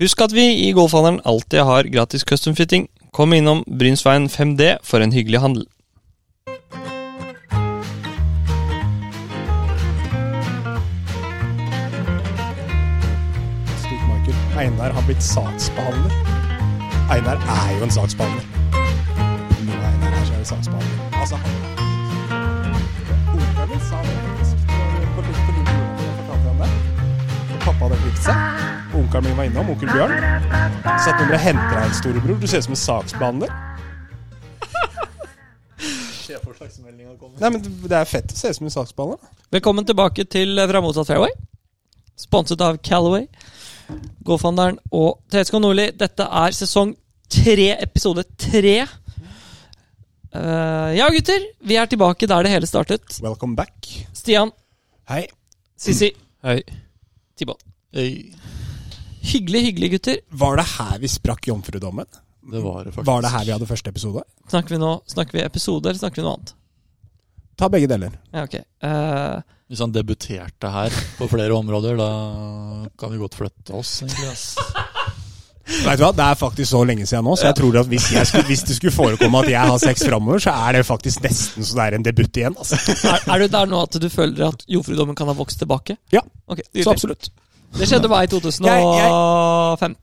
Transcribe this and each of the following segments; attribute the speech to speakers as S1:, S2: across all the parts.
S1: Husk at vi i Golfhandelen alltid har gratis custom fitting. Kom innom Brynsveien 5D for en hyggelig handel.
S2: Slik, Michael. Einar har blitt saksbehandler. Einar er jo en saksbehandler. Når Einar er, så er det saksbehandler. Altså, han Onkelen min sa det faktisk på- på litt- på litt jorda når jeg fortalte ham det. For Pappa hadde klippet seg. Onkelen min var innom, onkel Bjørn. Satt nummer og henter deg, storebror. Du ser ut som en saksbehandler. Nei, men Det er fett å se ut som en saksbehandler. da.
S1: Velkommen tilbake til eh, Fra motsatt fairway. Sponset av Calaway, Golfhandelen og TSK Nordli. Dette er sesong tre, episode tre. Eh, ja, gutter. Vi er tilbake der det hele startet.
S2: Welcome back.
S1: Stian,
S2: Hei.
S1: Sissi,
S3: Hei.
S1: Tibon.
S3: Hei.
S1: Hyggelig, hyggelig, gutter.
S2: Var det her vi sprakk jomfrudommen?
S3: Det var det faktisk.
S2: Var det her vi hadde første episode?
S1: Snakker vi nå snakker vi episode, eller snakker vi noe annet?
S2: Ta begge deler.
S1: Ja, ok. Eh,
S3: Hvis han debuterte her på flere områder, da kan vi godt flytte oss, egentlig. ass.
S2: Vet du hva, Det er faktisk så lenge siden nå, så jeg tror at hvis, jeg skulle, hvis det skulle forekomme at jeg har sex framover, så er det faktisk nesten så det er en debut igjen. Altså.
S1: er, er du der nå at du føler at jomfrudommen kan ha vokst tilbake?
S2: Ja,
S1: Ok,
S2: så
S1: nydelig.
S2: absolutt.
S1: Det skjedde meg i 2015.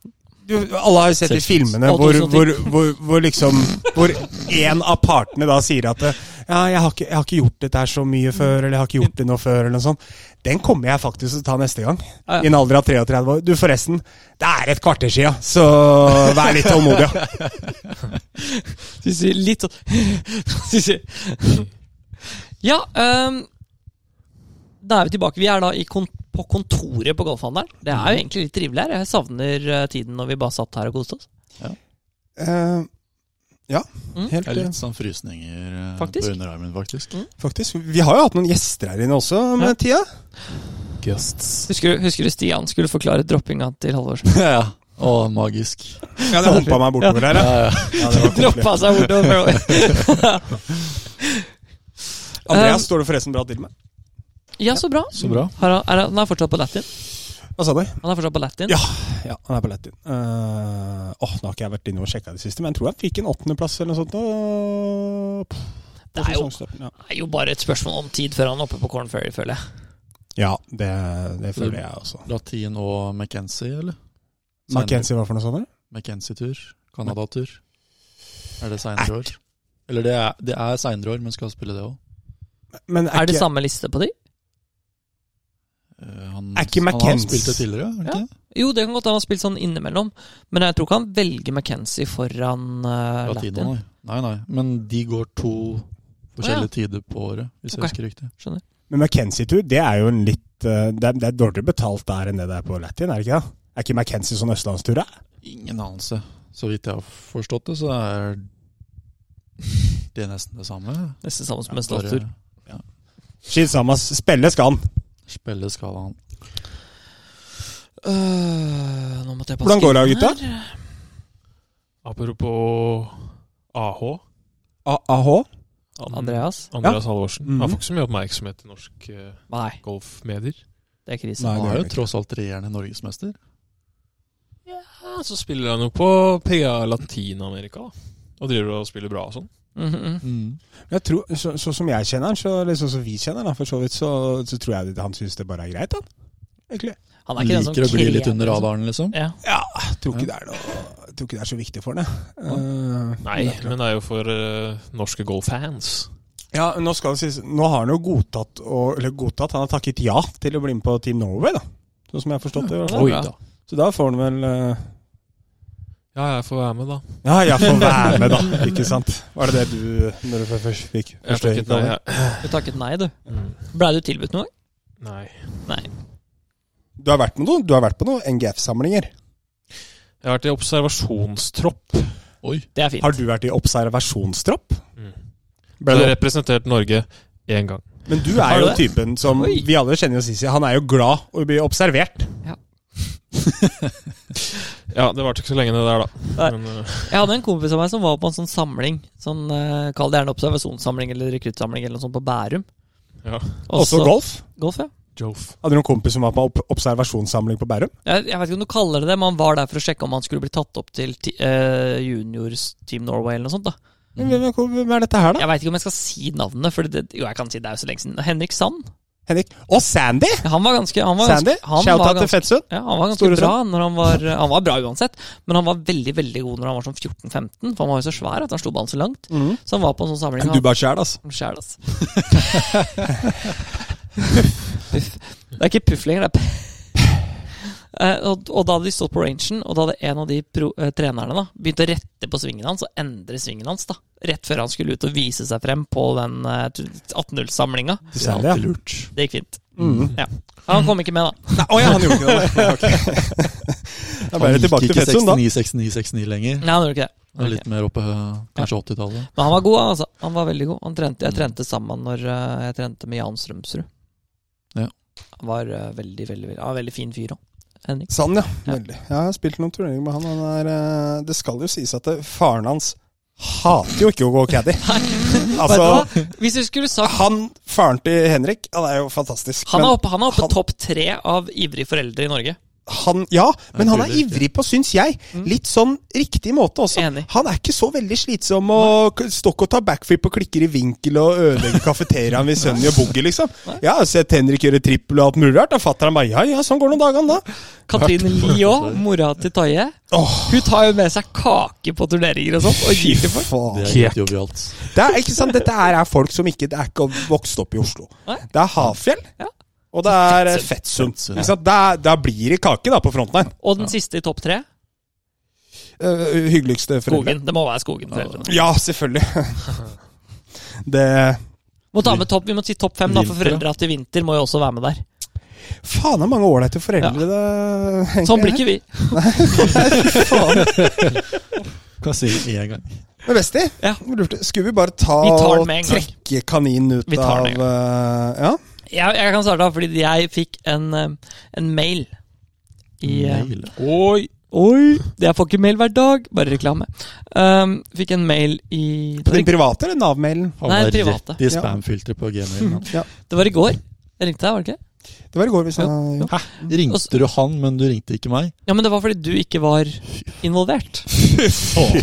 S2: Du, alle har jo sett de filmene
S1: Og
S2: hvor,
S1: 2010.
S2: hvor, hvor, hvor liksom Hvor en av partene da sier at eh, Ja, jeg har, ikke, 'Jeg har ikke gjort dette her så mye før', eller 'Jeg har ikke gjort det nå før', eller noe sånt. Den kommer jeg faktisk til å ta neste gang.
S1: Ja, ja.
S2: I en alder av 33 år. Du, forresten. Det er et kvarter sia, så vær litt tålmodig. ja.
S1: Sissi, litt sånn Sissi. Ja, ehm, da er vi tilbake. Vi er da i kon på kontoret på Golfhandelen. Det er jo egentlig litt trivelig her. Jeg savner eh, tiden når vi bare satt her og koste oss.
S2: Eh, ja,
S1: Mm.
S2: helt
S3: Jeg er
S2: eh,
S3: litt sånn frysninger eh,
S1: Faktisk.
S3: på underarmen, faktisk.
S2: Faktisk. Vi har jo hatt noen gjester her inne også med tida.
S3: Gusts.
S1: Husker, du- husker du Stian skulle forklare droppinga til Halvorsen?
S3: Ja. Å, magisk.
S2: Ja, det humpa meg bortover her.
S3: Ja,
S2: Ja.
S3: ja.
S2: Ja, det var koselig.
S1: Droppa seg bortover.
S2: Andreas står det forresten bra til med.
S1: Ja, så bra.
S3: Så bra.
S1: Har han, er han, han er fortsatt på Latin.
S2: Hva sa du?
S1: Han er fortsatt på Latin.
S2: Ja, ja han er på Latin. Eh, Åh, Nå har ikke jeg vært inne og sjekka det siste, men jeg tror jeg fikk en åttendeplass eller noe sånt. nå. På
S1: Det er jo-
S2: sesongstoppen, ja.
S1: Det er jo bare et spørsmål om tid før han er oppe på Corn Ferry, føler jeg.
S2: ja, det, det føler jeg også.
S3: Latin og McKenzie, eller?
S2: McKenzie, hva for noe sånt? eller?
S3: McKenzie-tur. Canada-tur. Er det seinere år? Eller det er, det er seinere år, men skal spille det òg.
S2: Men
S1: Er det
S2: ikke,
S1: samme liste på de?
S3: Eh, Han,
S2: Er ikke
S3: han har
S2: McKenzie-
S3: spilt det tidligere, er det ikke? det?
S1: Jo, det kan godt hende han har spilt sånn innimellom, men jeg tror ikke han velger McKenzie foran eh,
S3: Latino,
S1: Latin.
S3: nei. nei. Nei, Men de går to forskjellige tider på året, hvis
S1: Ok.
S3: jeg husker riktig.
S1: Skjønner.
S2: men McKenzie-tur, det er jo en litt eh, det, er, det er dårligere betalt der enn det det er på Latin, er det ikke det? Er ikke McKenzie sånn østlandstur, da?
S3: Ingen anelse. Så vidt jeg har forstått det, så er det nesten det samme.
S1: Nesten samme som en
S3: Bare
S1: statstur.
S2: Shinsamas spille skal han.
S3: spille skalaen.
S1: Øh, nå måtte jeg passe
S2: Hvordan går det,
S1: inn
S2: gutta?
S1: her.
S4: Apropos AH.
S2: AH?
S1: Andreas?
S4: Andreas Halvorsen.
S2: Mhm.
S4: Han får ikke så mye oppmerksomhet i norsk eh,
S1: Nei,
S4: golfmedier.
S1: det er krise.
S2: Nei,
S3: Han
S2: det
S3: er
S2: er
S3: jo
S2: det ikke.
S3: tross alt regjerende norgesmester.
S4: Ja, så spiller han jo på PA Latin-Amerika, da. Og driver og spiller bra og sånn.
S1: Mhm, mhm.
S2: Jeg tror, så, så som jeg kjenner han, så, eller sånn som vi kjenner han, da, for så vidt, så, så tror jeg han syns det bare er greit, han. Egentlig.
S1: Han er
S3: Han
S1: ikke den som
S3: liker å bli
S1: krever-
S3: litt under radaren, liksom.
S1: Ja.
S2: Ja, jeg tror ikke, det er noe, jeg tror ikke det er så viktig for han, jeg. Eh,
S4: Nei, men det er jo for eh, norske golffans.
S2: ja, nå, skal det sies, nå har han jo godtatt, å- eller godtatt, han har takket ja til å bli med på Team Norway, da. Sånn som jeg har forstått det. i hvert fall.
S1: Oi da.
S2: Så da får han vel eh,
S4: Ja, jeg får være med, da.
S2: Ja, jeg får være med, da. Ikke sant. Var det det du når du først fikk?
S4: Jeg
S2: første
S4: takket nei.
S2: innkalling?
S4: Jeg.
S1: Du takket nei, du.
S4: Mm.
S1: Blei du tilbudt noe?
S4: Nei.
S2: Du har vært med noen, du har vært på noen NGF-samlinger.
S4: Jeg har vært i observasjonstropp.
S3: Oi.
S1: Det er fint.
S2: Har du vært i observasjonstropp?
S4: Mm.
S2: Ble
S4: Jeg
S2: du
S4: har representert Norge én gang.
S2: Men du
S1: Har
S2: er jo
S1: du det?
S2: typen som
S1: Oi.
S2: Vi alle kjenner jo Sisi. Han er jo glad å bli observert.
S4: Ja, det varte ikke så lenge, det der, da.
S1: Nei.
S4: Men, eh,
S1: Jeg hadde en kompis av meg som var på en sånn samling. Sånn, eh, Kall det gjerne observasjonssamling eller rekruttsamling eller noe sånt på Bærum.
S4: ja.
S2: Også golf.
S1: Golf, ja.
S4: Joff.
S2: Hadde du noen kompis som var på opp- observasjonssamling på Bærum?
S1: Jeg, jeg vet ikke om du kaller det det, men han var der for å sjekke om han skulle bli tatt opp til ti, eh, juniors Team Norway eller noe sånt. da
S2: Men Hvem hvem- hvem er dette her, da?
S1: Jeg veit ikke om jeg skal si navnet, for det, jo, jeg kan si det er jo så lenge siden. Henrik Sand.
S2: Henrik. Og Sandy!
S1: Ja, Han var ganske Han var
S2: Sandy,
S1: ganske, han var
S2: Shout-out til
S1: ganske,
S2: Fettsund.
S1: ja, han var ganske
S2: Store
S1: bra når han var eh, Han var bra uansett, men han var veldig veldig god når han var sånn 14-15. For han var jo så svær at han slo ballen så langt.
S2: Mm.
S1: Så han var på en sånn samling.
S2: Du bare sjæl, altså.
S1: Han- Sjæl, ass. puff. Det er ikke puff lenger, det er p... Eh, og, og da hadde de stått på rangen, og da hadde en av de pro, eh, trenerne da begynt å rette på svingen hans og endre svingen hans. da Rett før han skulle ut og vise seg frem på den eh, 18-0-samlinga.
S2: Til
S3: Det er
S2: Sandy, ja.
S3: alltid lurt.
S1: Det gikk fint.
S2: Mm.
S1: Han kom ikke med, da.
S2: Nei, å ja, han gjorde ikke det. Ok. Da ble
S3: Han
S2: det tilbake
S3: gikk
S2: til
S3: ikke
S2: Fettsund, da.
S3: 69, 69, 69 lenger.
S1: Nei, han gjorde ikke det.
S3: Det er Litt mer oppe øh, kanskje 80-tallet.
S1: Men han var god, altså. Han var veldig god. Han trente, jeg trente sammen når eh, jeg trente med Jan Strømsrud.
S3: Ja.
S1: Han var eh, veldig, veldig, veldig, han var veldig fin fyr òg. Henrik.
S2: Sann, Sånn, ja.
S1: Ja.
S2: Veldig. Jeg har spilt noen turneringer med han. han er, eh, det skal jo sies at eh, faren hans hater jo ikke å gå caddy. altså,
S1: Vet du hva? Hvis du skulle sagt
S2: han faren til Henrik, han er jo fantastisk.
S1: Han er
S2: Ah, men
S1: oppe, han er oppe
S2: han-
S1: topp tre av ivrige foreldre i Norge.
S2: han, ja, men han er
S3: Utrolig.
S2: ivrig på, syns jeg. Litt sånn riktig måte også.
S1: Enig.
S2: Han er ikke så veldig slitsom og k- stokk og tar backflip og klikker i vinkel og ødelegger kafeteriaen ved Sunny og Boogie, liksom. Jeg har sett Henrik gjøre trippel og alt mulig rart. Da fatter han bare ja, ja, sånn går nå dagene, da.
S1: Katrine Lie òg, mora til Taje.
S2: Åh,
S1: Hun tar jo med seg kake på turneringer og sånt, og gir til folk.
S2: faen.
S3: Det er litt jovialt.
S2: Det er, ikke sant? Dette her er folk som ikke Det er ikke vokst opp i Oslo.
S1: Nei.
S2: Det er Hafjell,
S1: Ja.
S2: og det er eh, Fettsund.
S3: Fettsund.
S2: Ikke sant? Da- Da blir det kake da på frontline.
S1: Og den siste i topp tre?
S2: Eh, hyggeligste foreldre.
S1: Skogen. Det må være Skogen. foreldrene.
S2: Ja, selvfølgelig. Det
S1: Må ta med topp, vi må si topp fem, da, for
S3: Vinter, ja.
S1: foreldra til vinter må jo også være med der.
S2: Faen, det er mange ålreite foreldre det egentlig er.
S1: Sånn blir ikke vi.
S3: Kan jeg si det én gang.
S2: Men Vesti,
S1: Ja.
S2: lurte, skulle vi bare ta
S1: Vi tar den
S2: og
S1: med en gang.
S2: trekke kaninen ut
S1: Vi tar
S2: av
S1: den med en
S2: eh, Ja?
S1: Jeg, jeg kan starte, da, fordi jeg fikk en, eh, en mail i eh,
S3: Mail.
S4: Oi!
S1: Oi! Jeg får ikke mail hver dag, bare reklame. Um, fikk en mail i
S2: På din private eller Nav-mailen?
S1: Nei,
S3: Havner
S1: private.
S3: rett i
S2: Ja.
S3: spamfilteret på gmailen.
S2: Ja.
S1: Det var i går. Jeg ringte deg, var det ikke?
S2: Det var i går vi sa
S1: Jo.
S3: Hæ? Ringte du han, men du ringte ikke meg?
S1: Ja, men det var fordi du ikke var involvert.
S2: Faen.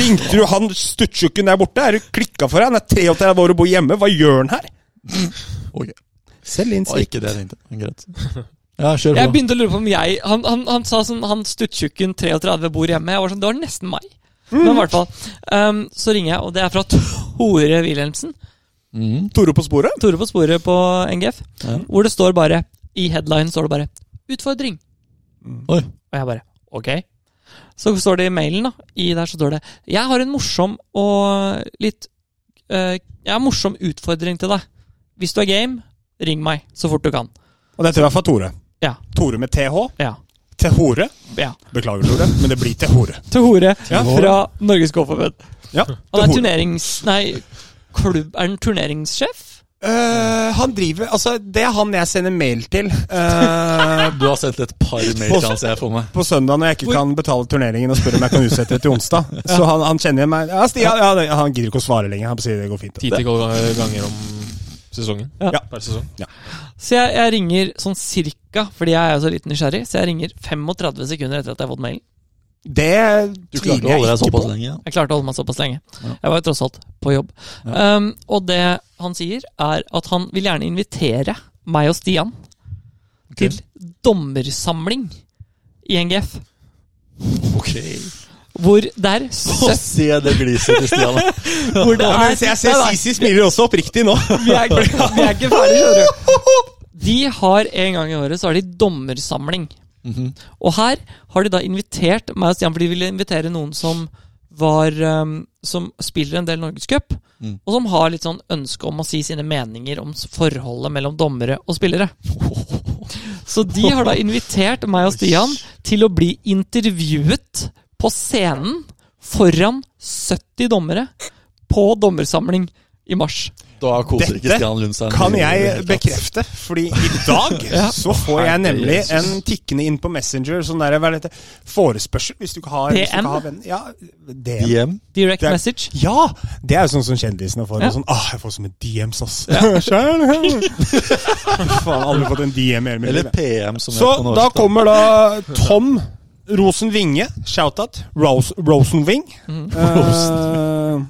S2: Ringte du han stuttjukken der borte? Er du klikka for deg? Han er 33 år og bor hjemme. Hva gjør han her?
S3: Ok,
S2: Selvinnsikt.
S3: Var ikke det jeg tenkte. Men Greit. Ja, kjør
S1: Jeg
S3: på.
S1: begynte å lure på om jeg Han, han, han sa sånn Han stuttjukken 33 bor hjemme. Jeg var sånn Det var nesten meg. Men i hvert fall. Um, så ringer jeg, og det er fra Tore Wilhelmsen.
S3: Mm.
S2: Tore på sporet?
S1: Tore på sporet på NGF.
S3: Ja.
S1: Hvor det står bare I headline står det bare 'Utfordring'.
S3: Oi.
S1: Og jeg bare Ok. Så står det i mailen, da. I der så står det 'Jeg har en morsom og litt eh, Jeg har en morsom utfordring til deg. Hvis du er game, ring meg så fort du kan.
S2: Og dette var fra Tore.
S1: Ja.
S2: Tore med TH.
S1: Ja.
S2: Til hore.
S1: ja.
S2: Beklager, Tore, men det blir til hore.
S1: Til Hore
S2: Ja.
S1: fra Norges Golfforbund.
S2: Ja,
S1: Han
S2: til
S1: er
S2: hore.
S1: turnerings... Nei, klubb... Er han turneringssjef?
S2: Eh, han driver Altså, det er han jeg sender mail til eh,
S3: Du har sendt et par mail til han, ser jeg for meg.
S2: på søndag når jeg ikke kan betale turneringen og spør om jeg kan utsette det til onsdag. Så han, han kjenner igjen meg. Ja, Stian, ja, det- han gidder ikke å svare lenger. Han sier det går fint.
S4: Ti til tolv ganger om sesongen.
S1: Ja.
S4: Per sesong.
S1: Så jeg, jeg ringer sånn cirka, fordi jeg er jo så litt nysgjerrig, så jeg ringer 35 sekunder etter at jeg har fått mailen.
S2: Det
S3: Du klarte å holde deg såpass lenge. Ja.
S1: Jeg klarte å holde meg såpass lenge.
S3: Ja.
S1: Jeg var jo tross alt på jobb. Um, og det han sier, er at han vil gjerne invitere meg og Stian til dommersamling i NGF. Hvor det er
S3: Få
S1: søpp-
S3: se det gliset til Stian.
S1: hvor det
S2: Ja,
S1: er
S2: men jeg ser Sisi smiler også oppriktig nå.
S1: Vi er, ikke- vi er ikke ferdige, skjønner du. De har en gang i året så har de dommersamling. Og her har de da invitert meg og Stian, for de ville invitere noen som var um, Som spiller en del Norgescup,
S3: Mm.
S1: og som har litt sånn ønske om å si sine meninger om s- forholdet mellom dommere og spillere. Så de har da invitert meg og Stian til å bli intervjuet på scenen foran 70 dommere på dommersamling i mars.
S3: Da koser ikke
S2: Dette
S3: Stian Lund seg.
S2: Kan
S3: i det hele
S2: jeg
S3: tatt.
S2: bekrefte? Fordi i dag så får jeg nemlig en tikkende inn på Messenger sånn der, hva er dette? forespørsel hvis du ikke har, hvis du
S1: DM?
S2: ikke har venn. Ja, DM.
S3: Hjem?
S1: Direct
S2: Det er-
S1: message.
S2: Ja! Det er jo sånn som kjendisene får.
S1: Ja.
S2: Sånn, ah, jeg får så mye DMs, ass. Skjønner du? Faen, aldri fått en DM i hele mitt
S3: Eller
S2: liv.
S3: PM, som
S2: Så
S3: heter på norsk.
S2: da kommer da Tom Rosenvinge, shout-out. Ros Rosenving. Eh,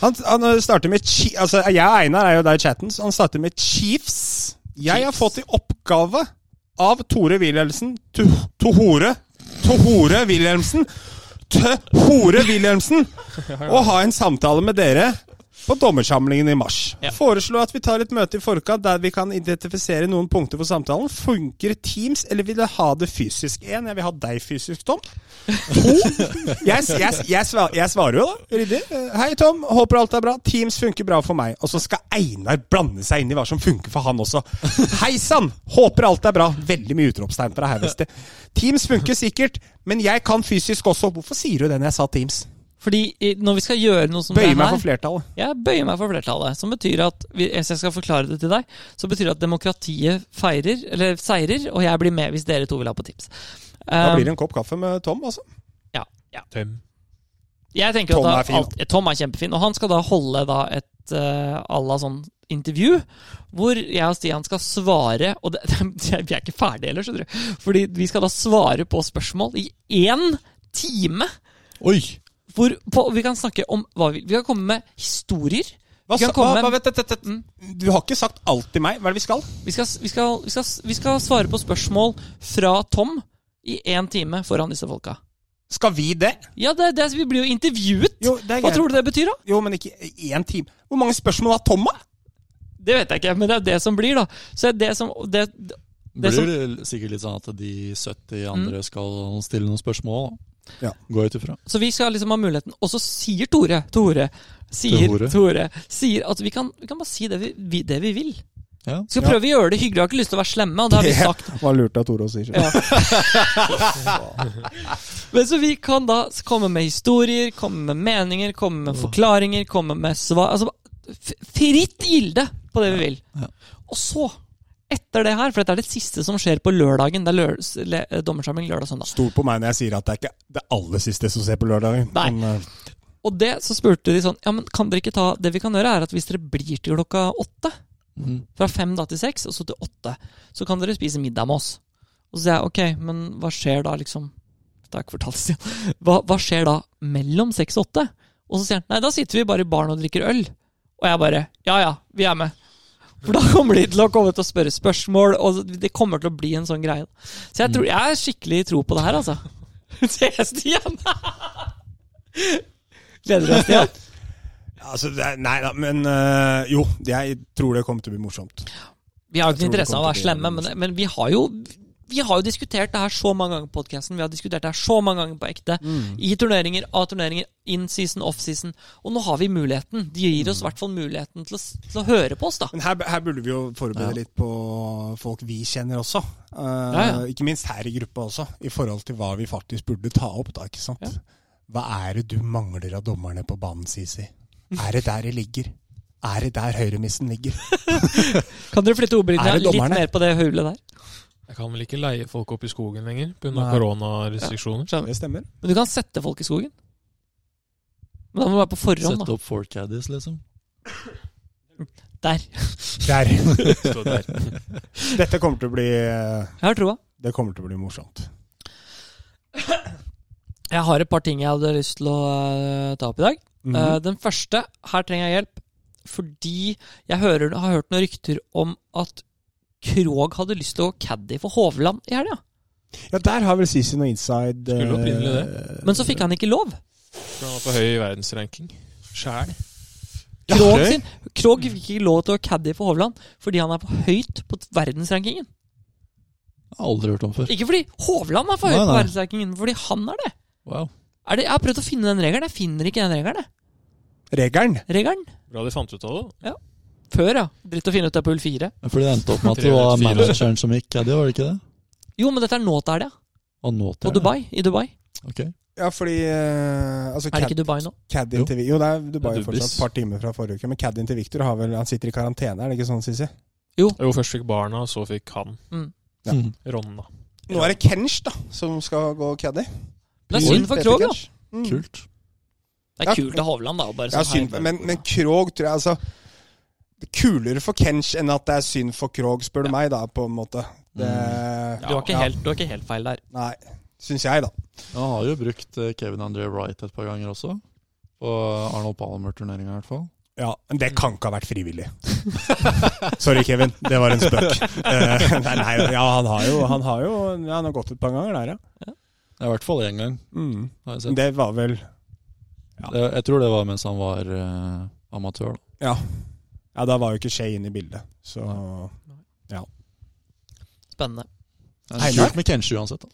S2: han, han starter med chi altså, Jeg og Einar er jo der i chatten, så han starter med Chiefs. Jeg har fått i oppgave av Tore Wilhelmsen to, to hore To hore Wilhelmsen Tø hore Wilhelmsen å ha en samtale med dere på dommersamlingen i mars.
S1: Ja.
S2: Foreslå at vi tar et møte i forkant der vi kan identifisere noen punkter for samtalen. Funker Teams, eller vil dere ha det fysisk? Én, jeg vil ha deg fysisk, Tom. To, jeg, jeg, jeg, svar, jeg svarer jo, da. Ryddig. Eh, Hei, Tom. Håper alt er bra. Teams funker bra for meg. Og så skal Einar blande seg inn i hva som funker for han også. Hei sann! Håper alt er bra. Veldig mye utropstegn fra Haugested. Teams funker sikkert, men jeg kan fysisk også. Hvorfor sier du det når jeg sa Teams?
S1: Fordi i- når vi skal gjøre noe som
S2: Bøyer
S1: det
S2: meg
S1: her
S2: for flertallet.
S1: Jeg bøyer meg for flertallet. Som betyr at vi- Hvis jeg skal forklare det til deg, så betyr det at demokratiet feirer, eller seirer, og jeg blir med hvis dere to vil ha på tips.
S2: Da
S1: Um,
S2: blir det en kopp kaffe med Tom, altså.
S1: ja, ja.
S4: Tøm.
S1: Jeg tenker
S2: Tom
S1: at da,
S2: er fin.
S1: Alt, eh, Tom er kjempefin, og han skal da holde da et uh, à la sånn intervju, hvor jeg og Stian skal svare Og det, vi er ikke ferdige heller, skjønner du. Fordi vi skal da svare på spørsmål i én time.
S3: Oi!
S1: Hvor på, vi kan snakke om hva vi vil. Vi kan komme med historier.
S2: Hva,
S1: vi,
S2: sa-
S1: kan komme
S2: hva, hva,
S1: med,
S2: vet, vet, vet, du har ikke sagt alt til meg. Hva er det vi skal?
S1: vi, skal, vi, skal, vi, skal, vi skal svare på spørsmål fra Tom i én time foran disse folka.
S2: Skal vi det?
S1: Ja, det, er det, vi blir jo intervjuet!
S2: Jo, det er
S1: Hva
S2: greit.
S1: tror du det betyr, da?
S2: Jo, men ikke én time. Hvor mange spørsmål har Tom, da?
S1: Det vet jeg ikke, men det er det som blir, da. Så det som, det, Det
S3: Blir det sikkert litt sånn at de 70 andre skal stille noen spørsmål? da?
S2: Mm. Ja.
S3: Gå ut ifra.
S1: så vi skal liksom ha muligheten. Og så sier Tore Tore sier,
S3: Tore.
S1: Tore. sier at vi kan, vi kan bare si det vi, vi, det vi vil.
S3: Ja.
S1: Vi skal prøve å gjøre det hyggelig. Vi har ikke lyst til å være slemme. Og det har vi sagt.
S2: var lurt av Tore å si.
S1: Ja. Men så vi kan da komme med historier, komme med meninger, komme med forklaringer, komme med svar Altså f- fritt gilde på det vi vil.
S3: Ja.
S1: Og så, etter det her, for dette er det siste som skjer på lørdagen. Det er lør, le, dommersamling lørdag og søndag.
S2: Stol på meg når jeg sier at det er ikke det aller siste som ser på lørdagen.
S1: Nei.
S2: Men, eh,
S1: Og det så spurte de sånn Ja, men kan dere ikke ta Det vi kan gjøre, er at hvis dere blir til klokka åtte,
S3: Mhm.
S1: fra fem da til seks, og så til åtte, så kan dere spise middag med oss. Og så sier jeg ok, men hva skjer da, liksom? Dette har jeg ikke fortalt Stian. Hva, hva skjer da mellom seks og åtte? Og så sier han nei, da sitter vi bare i baren og drikker øl. Og jeg bare ja ja, vi er med. For da kommer de til å komme til å spørre spørsmål, og det kommer til å bli en sånn greie. Så jeg tror jeg har skikkelig tro på det her, altså. Se, Stian! Gleder du deg, Stian?
S2: altså, det er, nei da, men eh, jo. Jeg tror det kommer til å bli morsomt.
S1: Vi har jo
S2: tror
S1: ikke
S2: det
S1: interesse av
S2: kommer
S1: å være
S2: til å bli
S1: slemme, men,
S2: morsomt.
S1: men vi, har jo, vi har jo diskutert det her så mange ganger på podkasten. Vi har diskutert det her så mange ganger på ekte. I turneringer, av turneringer, in season, off season. Og nå har vi muligheten. De gir oss i hvert fall muligheten til å, s- til å høre på oss, da.
S2: Men her, her burde vi jo forberede litt på folk vi kjenner også. Eh,
S1: Ja, ja.
S2: Ikke minst her i gruppa også, i forhold til hva vi faktisk burde ta opp. da, ikke sant?
S1: Ja.
S2: Hva er det du mangler av dommerne på banen, Sisi? Er det der det ligger? Er det der høyremissen ligger?
S1: Kan dere flytte ordbildene
S2: Er det
S1: litt
S2: dommerne?
S1: mer på det hullet der?
S4: Jeg kan vel ikke leie folk opp i skogen lenger pga.
S2: Nei.
S4: koronarestriksjoner.
S2: Det stemmer.
S1: Men du kan sette folk i skogen. Men da må du være på forhånd,
S3: Sette opp Four Caddies, liksom.
S1: da. Der.
S2: Der.
S4: Så der.
S2: Dette kommer til å bli eh,
S1: Jeg har troa.
S2: Det kommer til å bli morsomt.
S1: Eh, Jeg har et par ting jeg hadde lyst til å eh, ta opp i dag.
S2: Mhm.
S1: Eh, den første, her trenger jeg hjelp, fordi jeg hører, har hørt noen rykter om at Krog hadde lyst til å gå caddy for Hovland i helga,
S2: ja, der har vel Sisi noe inside eh,
S4: Skulle opprinnelig
S1: men så fikk han ikke lov.
S4: For han var på høy i verdensranking. Sjæl.
S2: Ja,
S1: Krog,
S2: ok.
S1: sin, Krog fikk ikke lov til å caddy for Hovland fordi han er for høyt på verdensrankingen.
S3: Jeg har aldri hørt om før.
S1: Ikke fordi Hovland er for
S3: Nei,
S1: høyt på
S3: nei.
S1: verdensrankingen, men fordi han er det.
S3: Wow.
S1: er det. Jeg har prøvd å finne den regelen, jeg finner ikke den regelen. jeg.
S2: Regelen.
S1: Regelen?
S4: Bra de fant ut av det. da.
S1: Før, ja. Dritt å finne ut det på hull fire.
S3: Fordi det endte opp med at det var
S4: 304.
S3: manageren som gikk caddy, var det ikke det?
S1: Jo, men dette er nå til helga.
S3: Og nå til
S1: På Dubai. I Dubai.
S3: Ok.
S2: Ja, fordi eh, altså,
S1: Er det
S2: Cad-
S1: ikke Dubai nå?
S2: Caddien
S3: Jo.
S2: til Victor Jo, det er Dubai
S4: Det er
S2: fortsatt
S4: Dubis.
S2: et par timer fra forrige uke, men Caddien til Victor har vel, han sitter i karantene, er det ikke sånn, Sissy?
S4: Jo, først fikk barna, så fikk han.
S2: Ja.
S3: Mm.
S4: Ronna.
S2: Nå er det Kench, da, som skal gå caddy.
S1: Det er synd for
S2: Peter
S1: Krog, da.
S2: Kench. Mm.
S3: Kult.
S2: Ja.
S1: Det er kult av Hovland, da. og Bare
S2: Ja,
S1: sånn
S2: synd,
S1: her.
S2: men, men Krog tror jeg altså det er Kulere for Kench enn at det er synd for Krog, spør du meg, da, på en måte. Det,
S4: Mm.
S1: Du har ikke,
S2: Ja.
S1: helt, du har ikke helt feil der.
S2: Nei, syns jeg, da.
S3: Han har jo brukt eh, Kevin André Wright et par ganger også. På Arnold Palmer-turneringa, i hvert fall.
S2: Ja, Men det kan ikke ha vært frivillig. Sorry, Kevin. Det var en spøk. Eh, nei, nei, ja, han har jo Han har jo ja, han har gått et par ganger der, ja.
S3: Ja, I hvert fall én gang.
S2: Mm.
S3: Har jeg,
S2: Men
S3: sett.
S2: Det var vel ja.
S3: Det, jeg tror det var mens han var eh, amatør. da.
S2: Ja. ja da var jo ikke Shay inne i bildet, så
S1: Spennende.
S3: Det er
S2: Einar?
S3: Kult med Kenshi uansett. Da.